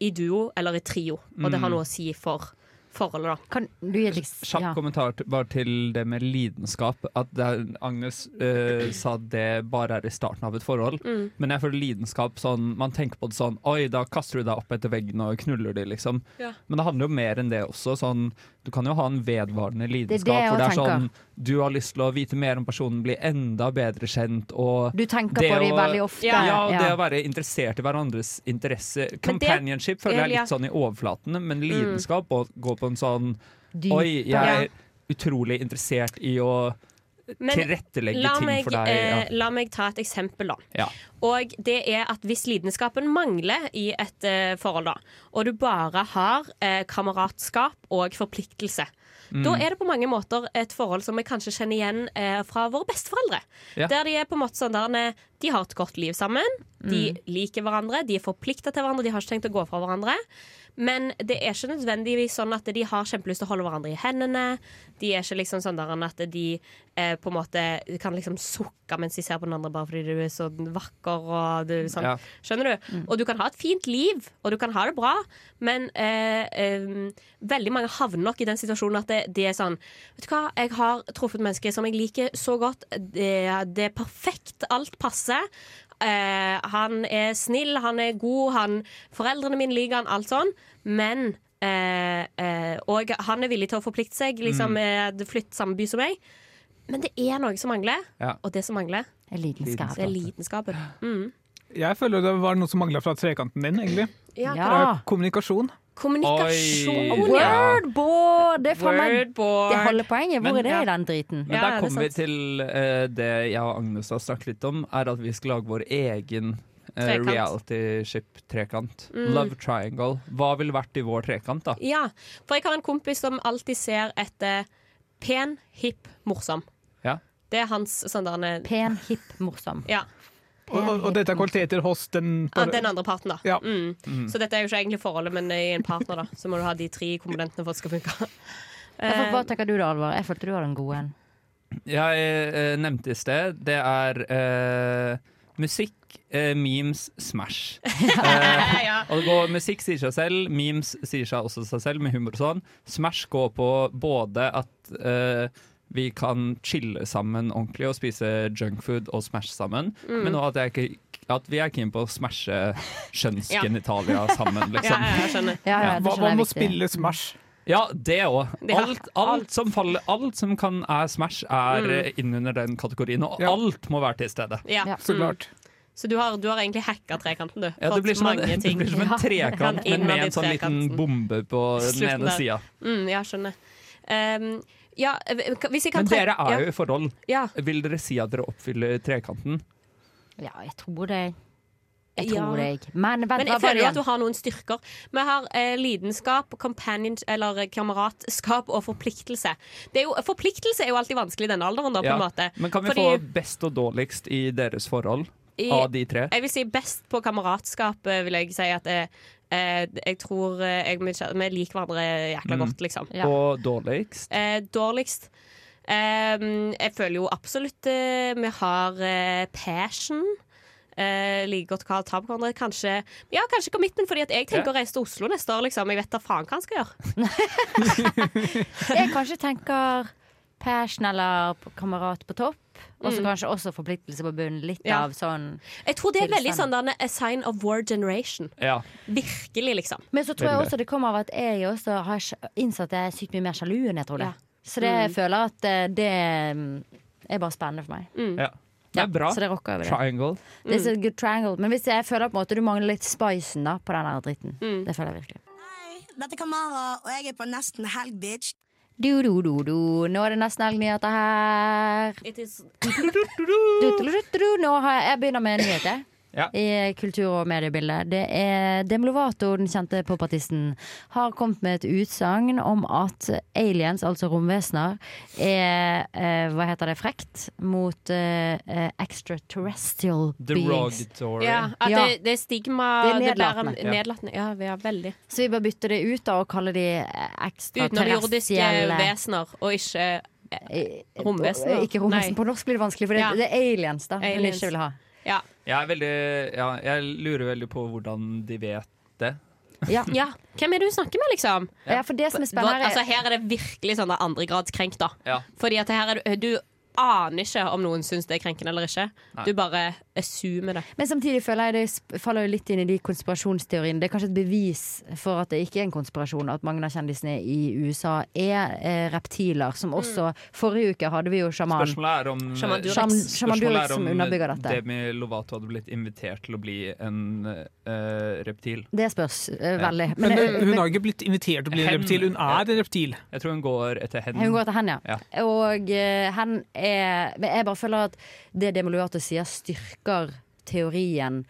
J: I duo eller i trio Og det
D: Mm.
J: har noe å si for forholdet da
H: Kan du gi litt
D: Kjapp kommentar t- bare til det med lidenskap. At det er, Agnes eh, sa at det bare er i starten av et forhold.
V: Mm.
D: Men jeg føler lidenskap sånn Man tenker på det sånn Oi, da kaster du deg opp etter veggen og knuller de, liksom.
V: Ja.
D: Men det handler jo mer enn det også. Sånn, du kan jo ha en vedvarende
H: det
D: lidenskap
H: jeg
D: hvor det er
H: tenker.
D: sånn Du har lyst til å vite mer om personen, bli enda bedre kjent og
H: Du tenker på de veldig ofte,
D: Ja,
H: ja.
D: det å være interessert i hverandres interesse.
H: Men det- Mm.
D: Companionship føler jeg er
H: Ja.
D: litt sånn i overflaten, men lidenskap og går på en sånn
H: Dyp,
D: Oi, jeg er
J: ja.
D: utrolig interessert i å
J: Men
D: tilrettelegge
J: la
D: ting
J: meg,
D: for deg. Ja.
J: eh, la meg ta et eksempel da
D: Ja.
J: Og det er at hvis lidenskapen mangler i et eh, forhold, da, og du bare har eh, kameratskap og forpliktelse,
W: Mm.
J: da er det på mange måter et forhold som vi kanskje kjenner igjen eh, fra våre besteforeldre.
W: Ja.
J: Der de er på en måte sånn der eh, De har et godt liv sammen, de
W: Mm.
J: liker hverandre, de er forplikta til hverandre, de har ikke tenkt å gå fra hverandre. Men det er ikke nødvendigvis sånn at de har kjempelyst til å holde hverandre i hendene. De er ikke liksom sånn der at de eh, på en måte kan liksom sukke mens de ser på den andre bare fordi du er så vakker og du, sånn.
Q: Ja.
J: Skjønner du?
Q: Mm.
J: Og du kan ha et fint liv, og du kan ha det bra, men eh, eh, veldig mange havner nok i den situasjonen at det, det er sånn Vet du hva, jeg har truffet mennesker som jeg liker så godt. Det, det er perfekt. Alt passer. Eh, han er snill, han er god, han, foreldrene mine liker han, alt sånn. Men eh, eh, Og han er villig til å forplikte seg, liksom mm. flytte samme by som meg. Men det er noe som mangler,
O: Ja.
J: og det som mangler
H: er
O: lidenskapen.
J: Det er lidenskapen. Mm.
O: Jeg føler det var noe som mangla fra trekanten din, egentlig.
J: Ja.
O: Det er Kommunikasjon.
J: Kommunikasjon,
O: Oi.
H: Wordboard! Det er faen meg
J: Wordboard.
H: det halve poenget. Hvor
D: Men-
H: er det
D: ja.
H: i den driten?
D: Men der kommer vi til eh, det jeg og Agnes har snakket litt om, er at vi skal lage vår egen eh,
J: Trekant.
D: reality-ship-trekant.
J: Mm.
D: Love triangle. Hva ville vært i vår trekant, da?
J: Ja, for jeg har en kompis som alltid ser etter pen, hipp, morsom.
D: Ja.
J: Det er hans sånn der
H: Pen, hipp, morsom.
J: Ja.
O: Og, og, og dette er kvaliteter hos den
J: Ja, den andre parten, da. Mm.
O: Mm.
J: Så dette er jo ikke egentlig forholdet, men i en partner, da. Så må du ha de tre komponentene for at det skal funke. Eh.
H: Ja, for Hva tenker du da, Alvar? Jeg følte du var den gode en.
D: Jeg eh, nevnte i sted, det er eh, musikk, eh, memes, Smash. Eh, og det går, musikk sier seg selv, memes sier seg også seg selv, med humor og sånn. Smash går på både at eh, vi kan chille sammen ordentlig og spise junkfood og Smash sammen,
L: Mm.
D: men også at, jeg, ikke- at vi er keen på å smashe kjønnsgenitalia sammen, liksom.
H: Ja, ja, det
O: Hva
H: skjønner
O: man må
H: jeg er viktig.
O: spille Smash?
D: Ja, det òg.
O: Ja,
D: Alt, alt, som faller- alt som kan er Smash, er
J: Mm.
D: eh, innunder den kategorien. Og alt må være til stede.
J: Ja. Ja. Så klart. Så du har, du har egentlig hacka trekanten, du.
D: Ja, det,
J: Fått
D: blir som en,
J: mange
D: det
J: ting.
D: blir som en
J: Han
D: trekant, men med
J: innad i
D: en sånn liten
J: trekanten.
D: bombe på den
J: Slutten
D: ene
J: der.
D: sida.
J: Mm, ja, skjønner. Ehm, ja, eh, hvis jeg kan
D: Men
J: tre-
D: dere er jo
J: ja.
D: i forhold.
J: Ja.
D: Vil dere si at dere oppfyller trekanten?
H: Ja, jeg tror det. Jeg
J: Ja.
H: tror det. Men vent,
J: Men
H: hva
J: jeg
H: var
J: føler
H: det
J: jo at
H: igjen?
J: du har noen styrker. Vi har eh, lidenskap, companion, eller eh, kameratskap og forpliktelse. Det er jo, forpliktelse er jo alltid vanskelig i denne alderen, da, på en måte.
D: Men kan vi
J: Fordi-
D: få best og dårligst i deres forhold
J: I-
D: av de tre?
J: Jeg vil si best på kameratskap, eh, vil jeg si at eh, eh, jeg tror eh, jeg, vi kjen- vi liker hverandre jækla
D: Mm.
J: godt, liksom.
D: Og dårligst?
J: Eh, dårligst eh, Jeg føler jo absolutt eh, vi har eh, passion. Eh, like godt hva ta på hverandre. Kanskje, ja, kanskje commitment, fordi at jeg tenker
H: Ja.
J: å reise til Oslo neste år. Liksom. Jeg vet da faen hva han skal gjøre.
H: Jeg kanskje tenker passion eller kamerat på topp. Og så
J: Mm.
H: kanskje også forpliktelse på bunnen. Litt
J: Ja.
H: av sånn
J: Jeg tror det er veldig
H: Tilstand.
J: sånn der, a sign of war generation.
D: Ja.
J: Virkelig, liksom.
H: Men så tror jeg også det kommer av at jeg også har sj- innsett at jeg er sykt mye mer sjalu enn jeg trodde. Så det jeg
J: Mm.
H: føler at eh, det mm, er bare spennende for meg.
D: Ja. Det er bra.
H: Mm. så det rocker over det.
D: Triangle.
H: This is a good triangle. Men hvis jeg føler på en måte du mangler litt spicen da, på den her dritten. Det føler jeg virkelig.
G: Dette er Kamara, og jeg er på Nesten Helg, bitch.
H: Du, du, du, du. Nå er det nesten helg nyheter her.
J: It is
H: Du, du, du, du, du. Nå har jeg, jeg begynner med en nyhet, jeg.
D: Ja.
H: I kultur- og mediebildet. Det er Demi Lovato, den kjente popartisten, har kommet med et utsagn om at aliens, altså romvesener, er eh, Hva heter det? Frekt mot eh, eh, extraterrestrial beings.
D: Derogatory.
J: Ja, at
H: Ja.
J: det, det er stigma
H: Det er
J: det blir en-
H: nedlatende. Ja.
J: nedlatende. Ja, vi er veldig.
H: Så vi bør bytte det ut da og kalle de
J: Utenomjordiske
H: ekstraterrestrielle
J: vesener, og ikke eh, romvesener.
H: Ikke romvesen. På norsk blir det vanskelig, for det,
J: Ja.
H: det er aliens da hun
J: Aliens.
H: ikke vil ha.
J: Ja.
D: Jeg, er veldig, ja, jeg lurer veldig på hvordan de vet det.
H: Ja.
J: Hvem er det hun snakker med, liksom?
H: Ja, for det som er spennende
J: Hva-
H: er-
J: altså, Her er det virkelig sånn andregradskrenk, da.
D: Ja.
J: Fordi at her er du, du aner ikke om noen syns det er krenkende eller ikke.
H: Nei.
J: Du bare assumer det.
H: Men samtidig føler jeg det sp- faller jo litt inn i de konspirasjonsteoriene. Det er kanskje et bevis for at det ikke er en konspirasjon at mange av kjendisene i USA er eh, reptiler, som også Forrige uke hadde vi jo sjaman.
D: Spørsmålet er om,
H: Sjaman Durek.
D: Sjam-
H: Sjaman- Sjaman
D: spørsmålet
H: Durek
D: er
H: som
D: om
H: underbygger dette.
D: Demi Lovato hadde blitt invitert til å bli en eh, reptil.
H: Det spørs eh,
D: Ja.
H: veldig.
O: Men,
H: eh,
O: hun, hun har ikke blitt invitert til å bli en
D: Hen.
O: reptil, hun er en reptil.
D: Jeg tror hun går etter hen.
H: Hun går etter hen, ja.
D: Mm. Ja.
H: Og eh, hen er Men jeg bare føler at det Demi Lovato sier, styrker teorien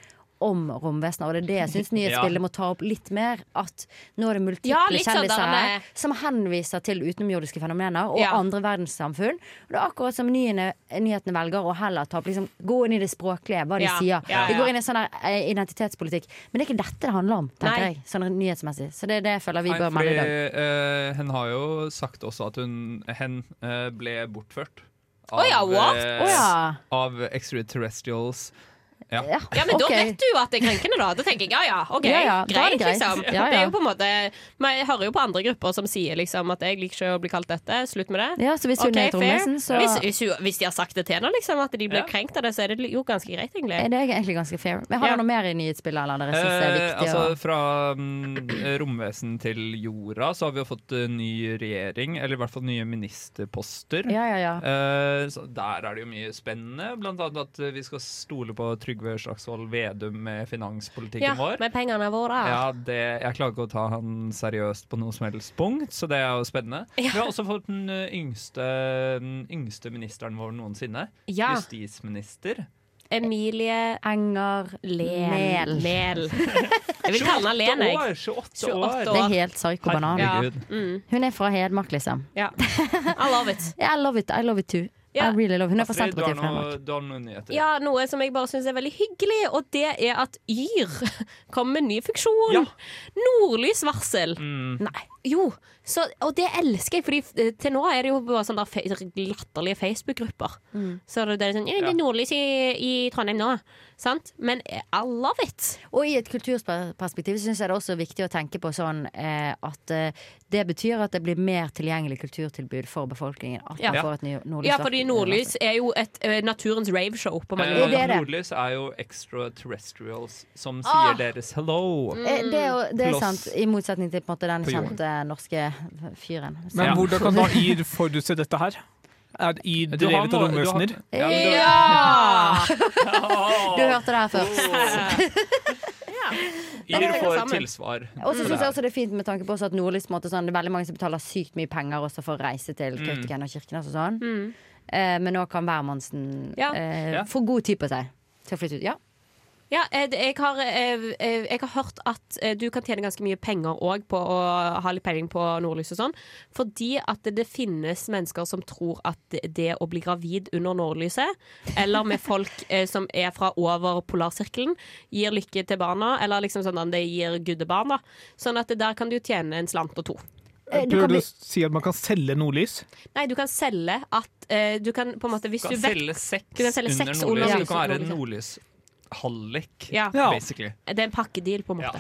H: om romvesener. Og det er det jeg syns nyhetsbildet
J: Ja.
H: må ta opp litt mer. At nå er det multiple
J: Ja, litt sånn der
H: kjendiser
J: med-
H: her som henviser til utenomjordiske fenomener og
J: Ja.
H: andre verdenssamfunn. Og det er akkurat som nyene, nyhetene velger å heller ta opp liksom, Gå inn i det språklige, hva de
J: Ja.
H: sier.
J: Ja, ja.
H: Det går inn i sånn der, eh, identitetspolitikk. Men det er ikke dette det handler om, tenker
J: Nei.
H: jeg. Sånn nyhetsmessig. Så det er det jeg føler vi
D: Nei,
H: bør
D: fordi,
H: melde i dag.
D: eh, hen har jo sagt også at hun hen eh, ble bortført.
J: Å ja, what?
D: eh,
J: Å ja.
D: av extraterrestrials. Ja.
J: Ja, men Da vet du jo at det er krenkende, da. Da tenker jeg ja ja, OK,
H: Ja, ja, da er
J: greit,
H: det greit.
J: liksom.
H: Ja, ja.
J: Det er jo på en måte Men Jeg hører jo på andre grupper som sier liksom at jeg liker ikke å bli kalt dette, slutt med det.
H: Ja, så hvis hun
J: Ok,
H: er et
J: fair.
H: romvesen, så-
J: hvis, hvis, hun- hvis de har sagt det til henne, liksom, at de blir krenkt av det, så er det jo ganske greit, egentlig.
H: Det er egentlig ganske fair. Men har
J: Ja.
H: dere noe mer i nyhetsbildet? Eller dere synes det er
D: Eh,
H: viktig
D: altså
H: å-
D: Fra mm, romvesen til jorda så har vi jo fått eh, ny regjering, eller i hvert fall nye ministerposter.
H: Ja, ja, ja.
D: Eh, så der er det jo mye spennende, blant annet at eh, vi skal stole på Trygve Slagsvold Vedum med finanspolitikken
J: Ja,
D: vår.
J: med pengene våre.
D: Ja, det, jeg klarer ikke å ta han seriøst på noe som helst punkt, så det er jo spennende. Vi har også fått den eh, yngste, den yngste ministeren vår noensinne.
J: Ja.
D: Justisminister.
J: Emilie
H: Enger
J: Len.
H: Mehl.
J: Mehl. Jeg vil kalle henne Len, jeg.
D: 28
J: år.
H: Det er helt psykobanan.
J: Herregud. Ja. Mm.
H: Hun er fra Hedmark, liksom.
J: Ja. I love it.
H: Yeah, I love it. I love it too. I really love Hun er fra
D: Astrid, Altså, du har
H: Senterpartiet fra
D: noe-
H: Hedmark.
D: du har noen nyheter.
J: Ja, noe som jeg bare syns er veldig hyggelig, og det er at Yr kommer med ny funksjon. Nordlysvarsel. Mm.
H: Nei.
J: Jo, så, og det elsker jeg, Fordi eh, til nå er det jo bare sånne der fe latterlige Facebook-grupper. Så det er sånn «Ja, Det er nordlys i, i Trondheim nå. Sant? Men eh, I love it!
H: Og i et kulturperspektiv syns jeg det er også viktig å tenke på sånn eh, at eh, det betyr at det blir mer tilgjengelig kulturtilbud for befolkningen. At man får et ny- nordlys.
J: ja, fordi nordlys er jo et, eh, naturens raveshow på mange
D: Eh,
J: måter.
D: Nordlys er jo extraterrestrials som sier
H: Ah!
D: deres hello.
J: Mm.
H: Eh, Det er, jo- det er
D: Kloss.
H: sant, i motsetning til på en måte, den
D: På jorden.
H: kjente norske fyren.
X: Men
D: Ja.
X: hvordan kan da IR forutse dette her? Er IR
D: Du har
X: drevet av
D: må- du har-
X: romvesener?
D: Ja, men du-
H: Ja! Du hørte det her først.
D: Ir
H: det
D: får
H: sammen.
D: tilsvar.
H: Og så
D: for
H: synes
D: det
H: jeg
D: her.
H: også det er fint med tanke på også at nordlys på en måte, sånn, Det er veldig mange som betaler sykt mye penger også for å reise til
D: Mm.
H: Kautokeino og Kirkenes og sånn. Eh, men nå kan hvermannsen
J: Mm. Ja.
H: eh,
J: Ja.
H: få god tid på seg til å flytte ut. Ja.
J: Ja, eh, det- jeg har, eh, eh, jeg har hørt at eh, du kan tjene ganske mye penger òg på å ha litt peiling på nordlys og sånn. Fordi at det- det finnes mennesker som tror at det- det å bli gravid under nordlyset, eller med folk eh, som er fra over polarsirkelen, gir lykke til barna. Eller liksom sånn at det gir guddebarn, da. Sånn at det der kan du tjene en slant og to.
C: Eh,
X: Prøver du å si at man kan selge nordlys?
J: Nei, du kan selge at eh, Du kan på en måte hvis
D: Du
J: du
D: kan
J: vet-
D: selge sex,
J: Du kan selge sex
D: under nordlys.
J: under
D: Du kan være en
J: nordlyset.
D: nordlyshallik,
J: Ja. Ja.
D: basically.
J: Det er en pakkedeal, på en måte.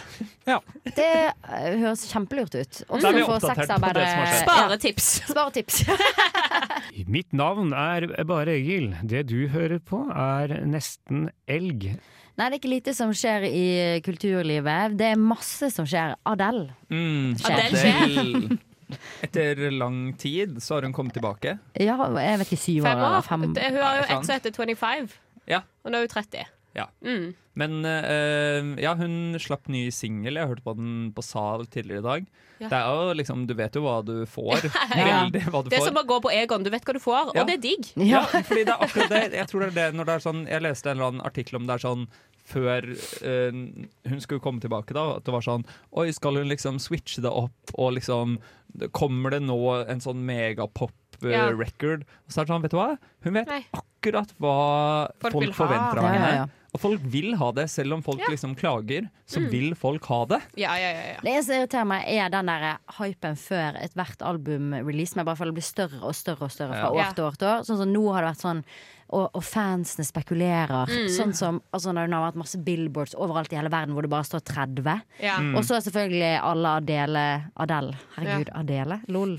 H: Det eh, høres kjempelurt ut.
D: Mm. Da
H: Også
D: er vi
H: for
D: oppdatert på det som
H: sexarbeidere.
D: har
J: Eh,
D: skjedd.
J: Sparetips.
H: Sparetips.
C: Mitt navn er Bare Egil. Det du hører på er nesten elg.
H: Nei, det er ikke lite som skjer i kulturlivet. Det er masse som skjer. Adele.
D: Mm,
H: Adele
D: Adele. Etter lang tid så har hun kommet tilbake.
H: Ja, jeg vet ikke, syv år
J: Fem år.
H: eller fem
J: Det- Hun har jo
D: Nei, sant.
J: ett som heter 25,
D: Ja.
J: og nå er hun 30.
D: Ja.
J: Mm.
D: Men eh, ja, hun slapp ny singel. Jeg hørte på den på Sal tidligere i dag.
J: Ja.
D: Det er jo liksom, Du vet jo hva du får.
J: Ja.
D: Veldig hva du
J: Det er
D: får.
J: som å gå på Egon. Du vet hva du får,
D: Ja.
J: og det er digg.
D: Ja, fordi det er akkurat det. Jeg tror det er det når det er sånn Jeg leste en eller annen artikkel om det er sånn før eh, hun skulle komme tilbake, da. At det var sånn Oi, skal hun liksom switche det opp, og liksom Kommer det nå en sånn megapop eh,
C: Ja.
D: record? Og så er det sånn, vet du hva? Hun vet akkurat hva
C: Folk
D: folk,
C: vil ha.
D: forventer av
C: Ja, ja,
D: henne.
C: ja.
D: Og folk vil ha det, selv om folk liksom klager, så
H: Mm.
D: vil folk ha det.
J: Ja, ja, ja,
H: Det eneste som irriterer meg, er den der hypen før ethvert album-release. Men jeg bare føler det blir større og større og større fra
J: Ja.
H: år
J: Ja.
H: til år. til år Sånn som nå har det vært sånn og, og fansene spekulerer.
J: Mm.
H: Sånn som altså, når det har vært masse billboards overalt i hele verden hvor det bare står 30.
J: Ja. Mm.
H: Og så er selvfølgelig alle Adele Adele. Herregud, Adele? Lol.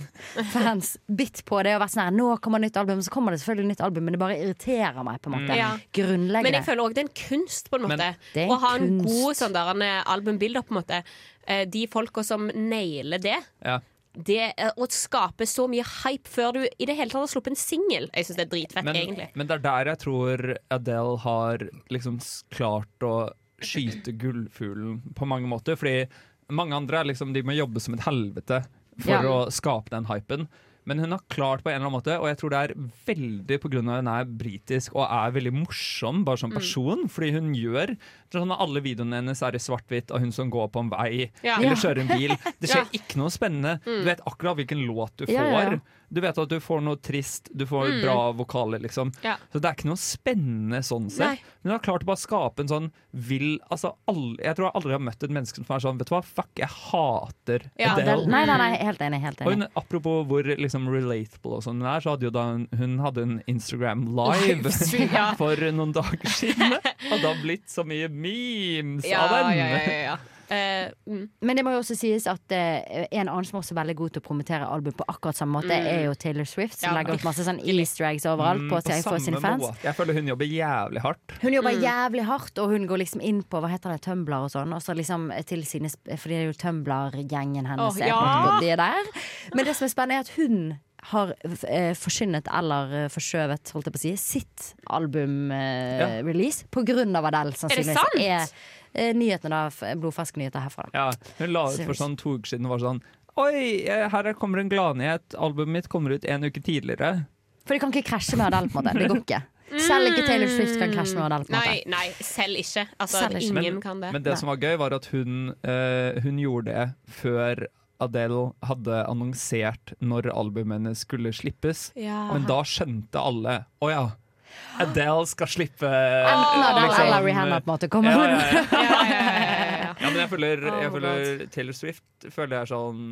H: Fans bitt på det og vært sånn her Nå kommer nytt album. Så kommer det selvfølgelig nytt album, men det bare irriterer meg på en måte.
J: Mm. Ja. Men
H: Grunnleggende.
J: jeg føler òg det er en kunst, på en måte.
H: Det er en
J: Å ha en
H: kunst.
J: god sånn der, en albumbilder, på en måte. Eh, De folka som nailer det.
D: Ja.
J: Det eh, Å skape så mye hype før du i det hele tatt har sluppet en singel, jeg syns det er dritfett,
D: Men,
J: egentlig.
D: men det er der jeg tror Adele har liksom s- klart å skyte gullfuglen på mange måter. Fordi mange andre er liksom, de må jobbe som et helvete for
C: Ja.
D: å skape den hypen. Men hun har klart på en eller annen måte, og jeg tror det er veldig pga. hun er britisk og er veldig morsom bare som
J: Mm.
D: person. Fordi hun gjør sånn at Alle videoene hennes er i svart-hvitt av hun som går på en vei
J: Ja.
D: eller
J: Ja.
D: kjører en bil. Det skjer
J: Ja.
D: ikke noe spennende.
J: Mm.
D: Du vet akkurat hvilken låt du får.
J: Ja, ja, ja.
D: Du vet at du får noe trist, du får
J: Mm.
D: bra vokaler, liksom.
J: Ja.
D: Så det er ikke noe spennende sånn
J: Nei.
D: sett. Men hun har klart å bare skape en sånn vill altså, alle, Jeg tror jeg aldri har møtt et menneske som er sånn Vet du hva, fuck, jeg hater
H: Ja,
D: Adele.
H: Adele. Nei, nei, nei, helt enig. Helt
D: Og
H: enig.
D: hun, apropos hvor liksom, relatable og sånn hun er, så hadde jo da hun, hun hadde en Instagram live
J: Livestream, ja.
D: for noen dager siden. Og da blitt så mye memes
H: Ja,
D: av den!
H: ja, ja, ja,
J: Eh, mm.
H: Men det må jo også sies at eh, en annen som også er veldig god til å promotere album på akkurat samme måte,
D: Mm.
H: er jo Taylor Swift, som
D: Ja,
H: legger ut masse sånn easter eggs overalt
D: Mm,
H: på, til- for
D: samme Mm.
H: sine fans.
D: måte. Jeg føler hun jobber jævlig hardt.
H: Hun jobber jævlig hardt, og hun går liksom inn på hva heter det, Tumblr og sånn. Og så liksom til sine, sp- For det er jo Tumblr-gjengen hennes.
J: Åh,
H: er
J: ja.
H: på en måte det der. Men det som er spennende, er at hun har eh, forkynnet eller eh, forskjøvet holdt jeg på å si, sitt
D: Ja.
H: albumrelease på grunn av Adele, sannsynligvis.
J: sant?
H: er eh, nyhetene da, f- blodferske nyheter herfra.
D: Ja, hun la ut for
H: Seriøst.
D: sånn to uker siden og var sånn Oi, eh, her er- kommer en gladnyhet. Albumet mitt kommer ut en uke tidligere.
H: For de kan ikke krasje med Adele, på en måte. Det går ikke. Selv ikke Taylor Swift kan krasje med Adele. på en måte.
J: Nei, nei, selv ikke. Altså,
H: Selv ikke.
J: ingen
D: Men-
J: kan det.
D: Men det som var gøy, var at hun, eh, hun gjorde det før Adele hadde annonsert når albumet hennes skulle slippes.
J: Ja.
D: Men da skjønte alle Å ja, Adele skal slippe
H: Enten Adele eller Rihanna, på en måte, kommer
D: ja,
H: hun.
D: ja, ja. Ja, men jeg føler, jeg
H: Oh my
D: føler Taylor Swift føler jeg er sånn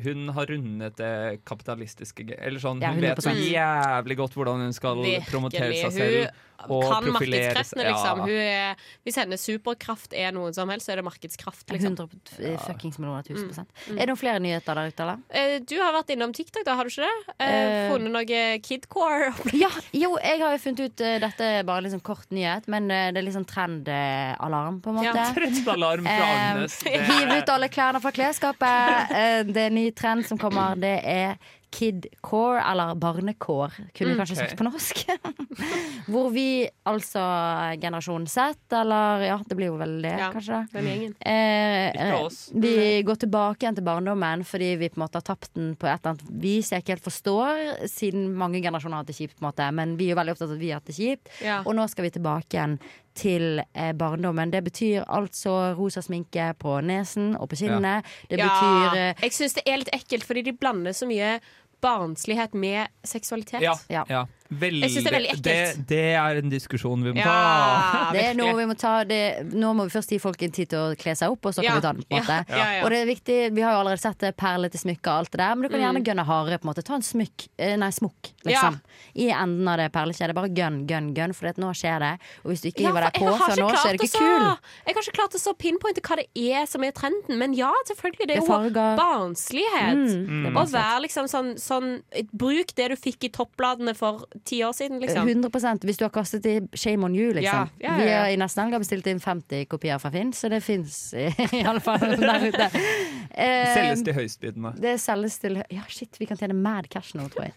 D: hun har rundet det kapitalistiske ge- Eller sånn,
J: Ja,
D: Hun vet så
J: 100%.
D: jævlig godt hvordan hun skal
J: Virkelig.
D: promotere seg selv
J: Hun
D: og
J: kan
D: profilere
J: markedskreftene,
D: seg.
J: liksom. Hun er, hvis hennes superkraft er noen som helst, så er det markedskraft. Liksom.
H: 100 fuckings millioner tusen prosent. Er det noen flere nyheter der ute, eller?
J: Eh, Du har vært innom TikTok, da, har du ikke det? Eh,
H: Eh,
J: Funnet noe kidcore?
H: Ja, jo, jeg har jo funnet ut eh, Dette er bare liksom kort nyhet, men eh, det er litt sånn trendalarm, på en måte.
D: Ja, trendalarm fra
H: Eh,
D: Agnes. Det-
H: Hiv ut alle klærne fra klesskapet. Eh, det er en ny trend som kommer. Det er kidcore, eller barnekår, kunne vi
J: Mm.
H: kanskje
J: Ok.
H: sagt på norsk. Hvor vi, altså generasjon Z, eller ja, det blir jo vel det,
J: Ja,
H: kanskje.
J: den gjengen.
H: Eh,
J: Ikke oss.
H: Vi går tilbake igjen til barndommen fordi vi på en måte har tapt den på et eller annet vis jeg ikke helt forstår, siden mange generasjoner har hatt det kjipt, på en måte. Men vi er jo veldig opptatt av at vi har hatt det kjipt.
J: Ja.
H: Og nå skal vi tilbake igjen til eh, barndommen. Det betyr altså rosa sminke på nesen og på kinnet. Det betyr eh,
J: Jeg syns det er litt ekkelt, fordi de blander så mye barnslighet med seksualitet.
D: Ja, ja. Veldig,
J: Jeg synes det er veldig
D: Det,
J: ekkelt.
D: det er en diskusjon vi må ta.
H: det er noe vi må ta det, Nå må vi først gi folk en tid til å kle seg opp, og så kan
J: Ja.
H: vi ta den. på en måte
J: Ja, ja, ja.
H: Og det er viktig, Vi har jo allerede sett det, perle til smykke og alt det der, men du kan gjerne
J: Mm.
H: gønne hardere. på en måte Ta en smykk, eh, nei smokk,
J: Ja.
H: liksom. I enden av det perlekjedet. Bare gønn, gønn, gønn, for at nå skjer det. Og hvis du ikke
J: Ja,
H: hiver
J: for
H: deg
J: jeg
H: på
J: har
H: før
J: ikke
H: nå, så er
J: klart
H: du
J: å
H: ikke
J: så-
H: kul.
J: Jeg har ikke klart å så pinpointe hva det er som er trenden, men ja, selvfølgelig. Det
H: Det
J: er
H: er
J: jo
H: farger.
J: barnslighet.
H: Mm, det er
J: Å
H: barnslighet.
J: være liksom sånn, sånn Bruk det du fikk i toppbladene for ti år
H: Eh,
J: siden, liksom.
H: 100 Hvis du har kastet i Shame on you,
J: Ja,
H: liksom.
J: ja, ja,
H: Vi
J: ja.
H: har i nesten helg har bestilt inn 50 kopier fra Finn, så det fins iallfall der ute. Eh,
D: Selges til høystbydende.
H: Det selges til Ja, shit, vi kan tjene mad cash nå, tror jeg.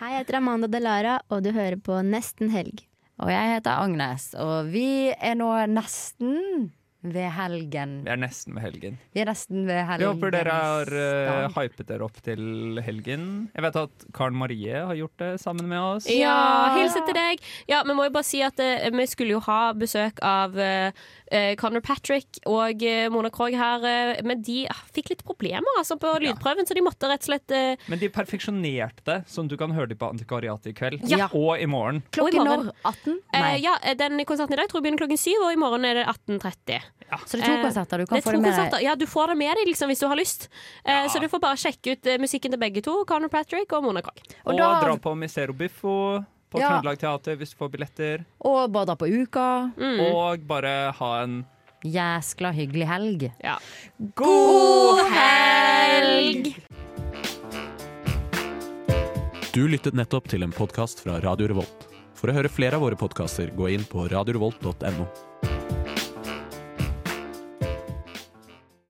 M: Hei, jeg heter Amanda Delara, og du hører på Nesten helg.
H: Og jeg heter Agnes, og vi er nå nesten ved helgen.
D: Vi er nesten ved helgen.
H: Vi er nesten ved
D: Jeg
H: helgen.
D: håper dere har eh, hypet dere opp til helgen. Jeg vet at Karen Marie har gjort det sammen med oss.
J: Ja, hilsen til deg. Ja, Vi må jo bare si at eh, vi skulle jo ha besøk av eh, eh, Connor Patrick og eh, Mona Krogh her, eh, men de ah, fikk litt problemer altså, på lydprøven, så de måtte rett og slett eh,
D: Men de perfeksjonerte det, sånn at du kan høre dem på Antikvariatet i kveld
J: Ja.
D: og i morgen.
J: Og i morgen.
H: 18?
J: Eh, ja, eh, den konserten i dag tror jeg begynner klokken syv, og i morgen er det 18.30.
H: Så det er to
J: Eh,
H: konserter, du kan
J: det er
H: få
J: to
H: det med
J: konserter.
H: deg.
J: Ja, du får det med deg liksom, hvis du har lyst. Eh, Så du får bare sjekke ut eh, musikken til begge to, Conor Patrick og Mona Krogh.
D: Og, dra på Misero Biffo på
J: Ja.
D: Trøndelag Teater hvis du får billetter.
H: Og bare dra på uka.
J: Mm.
D: Og bare ha en
H: Jæskla hyggelig helg.
J: God helg!
V: Du lyttet nettopp til en podkast fra Radio Revolt. For å høre flere av våre podkaster, gå inn på radiorevolt.no.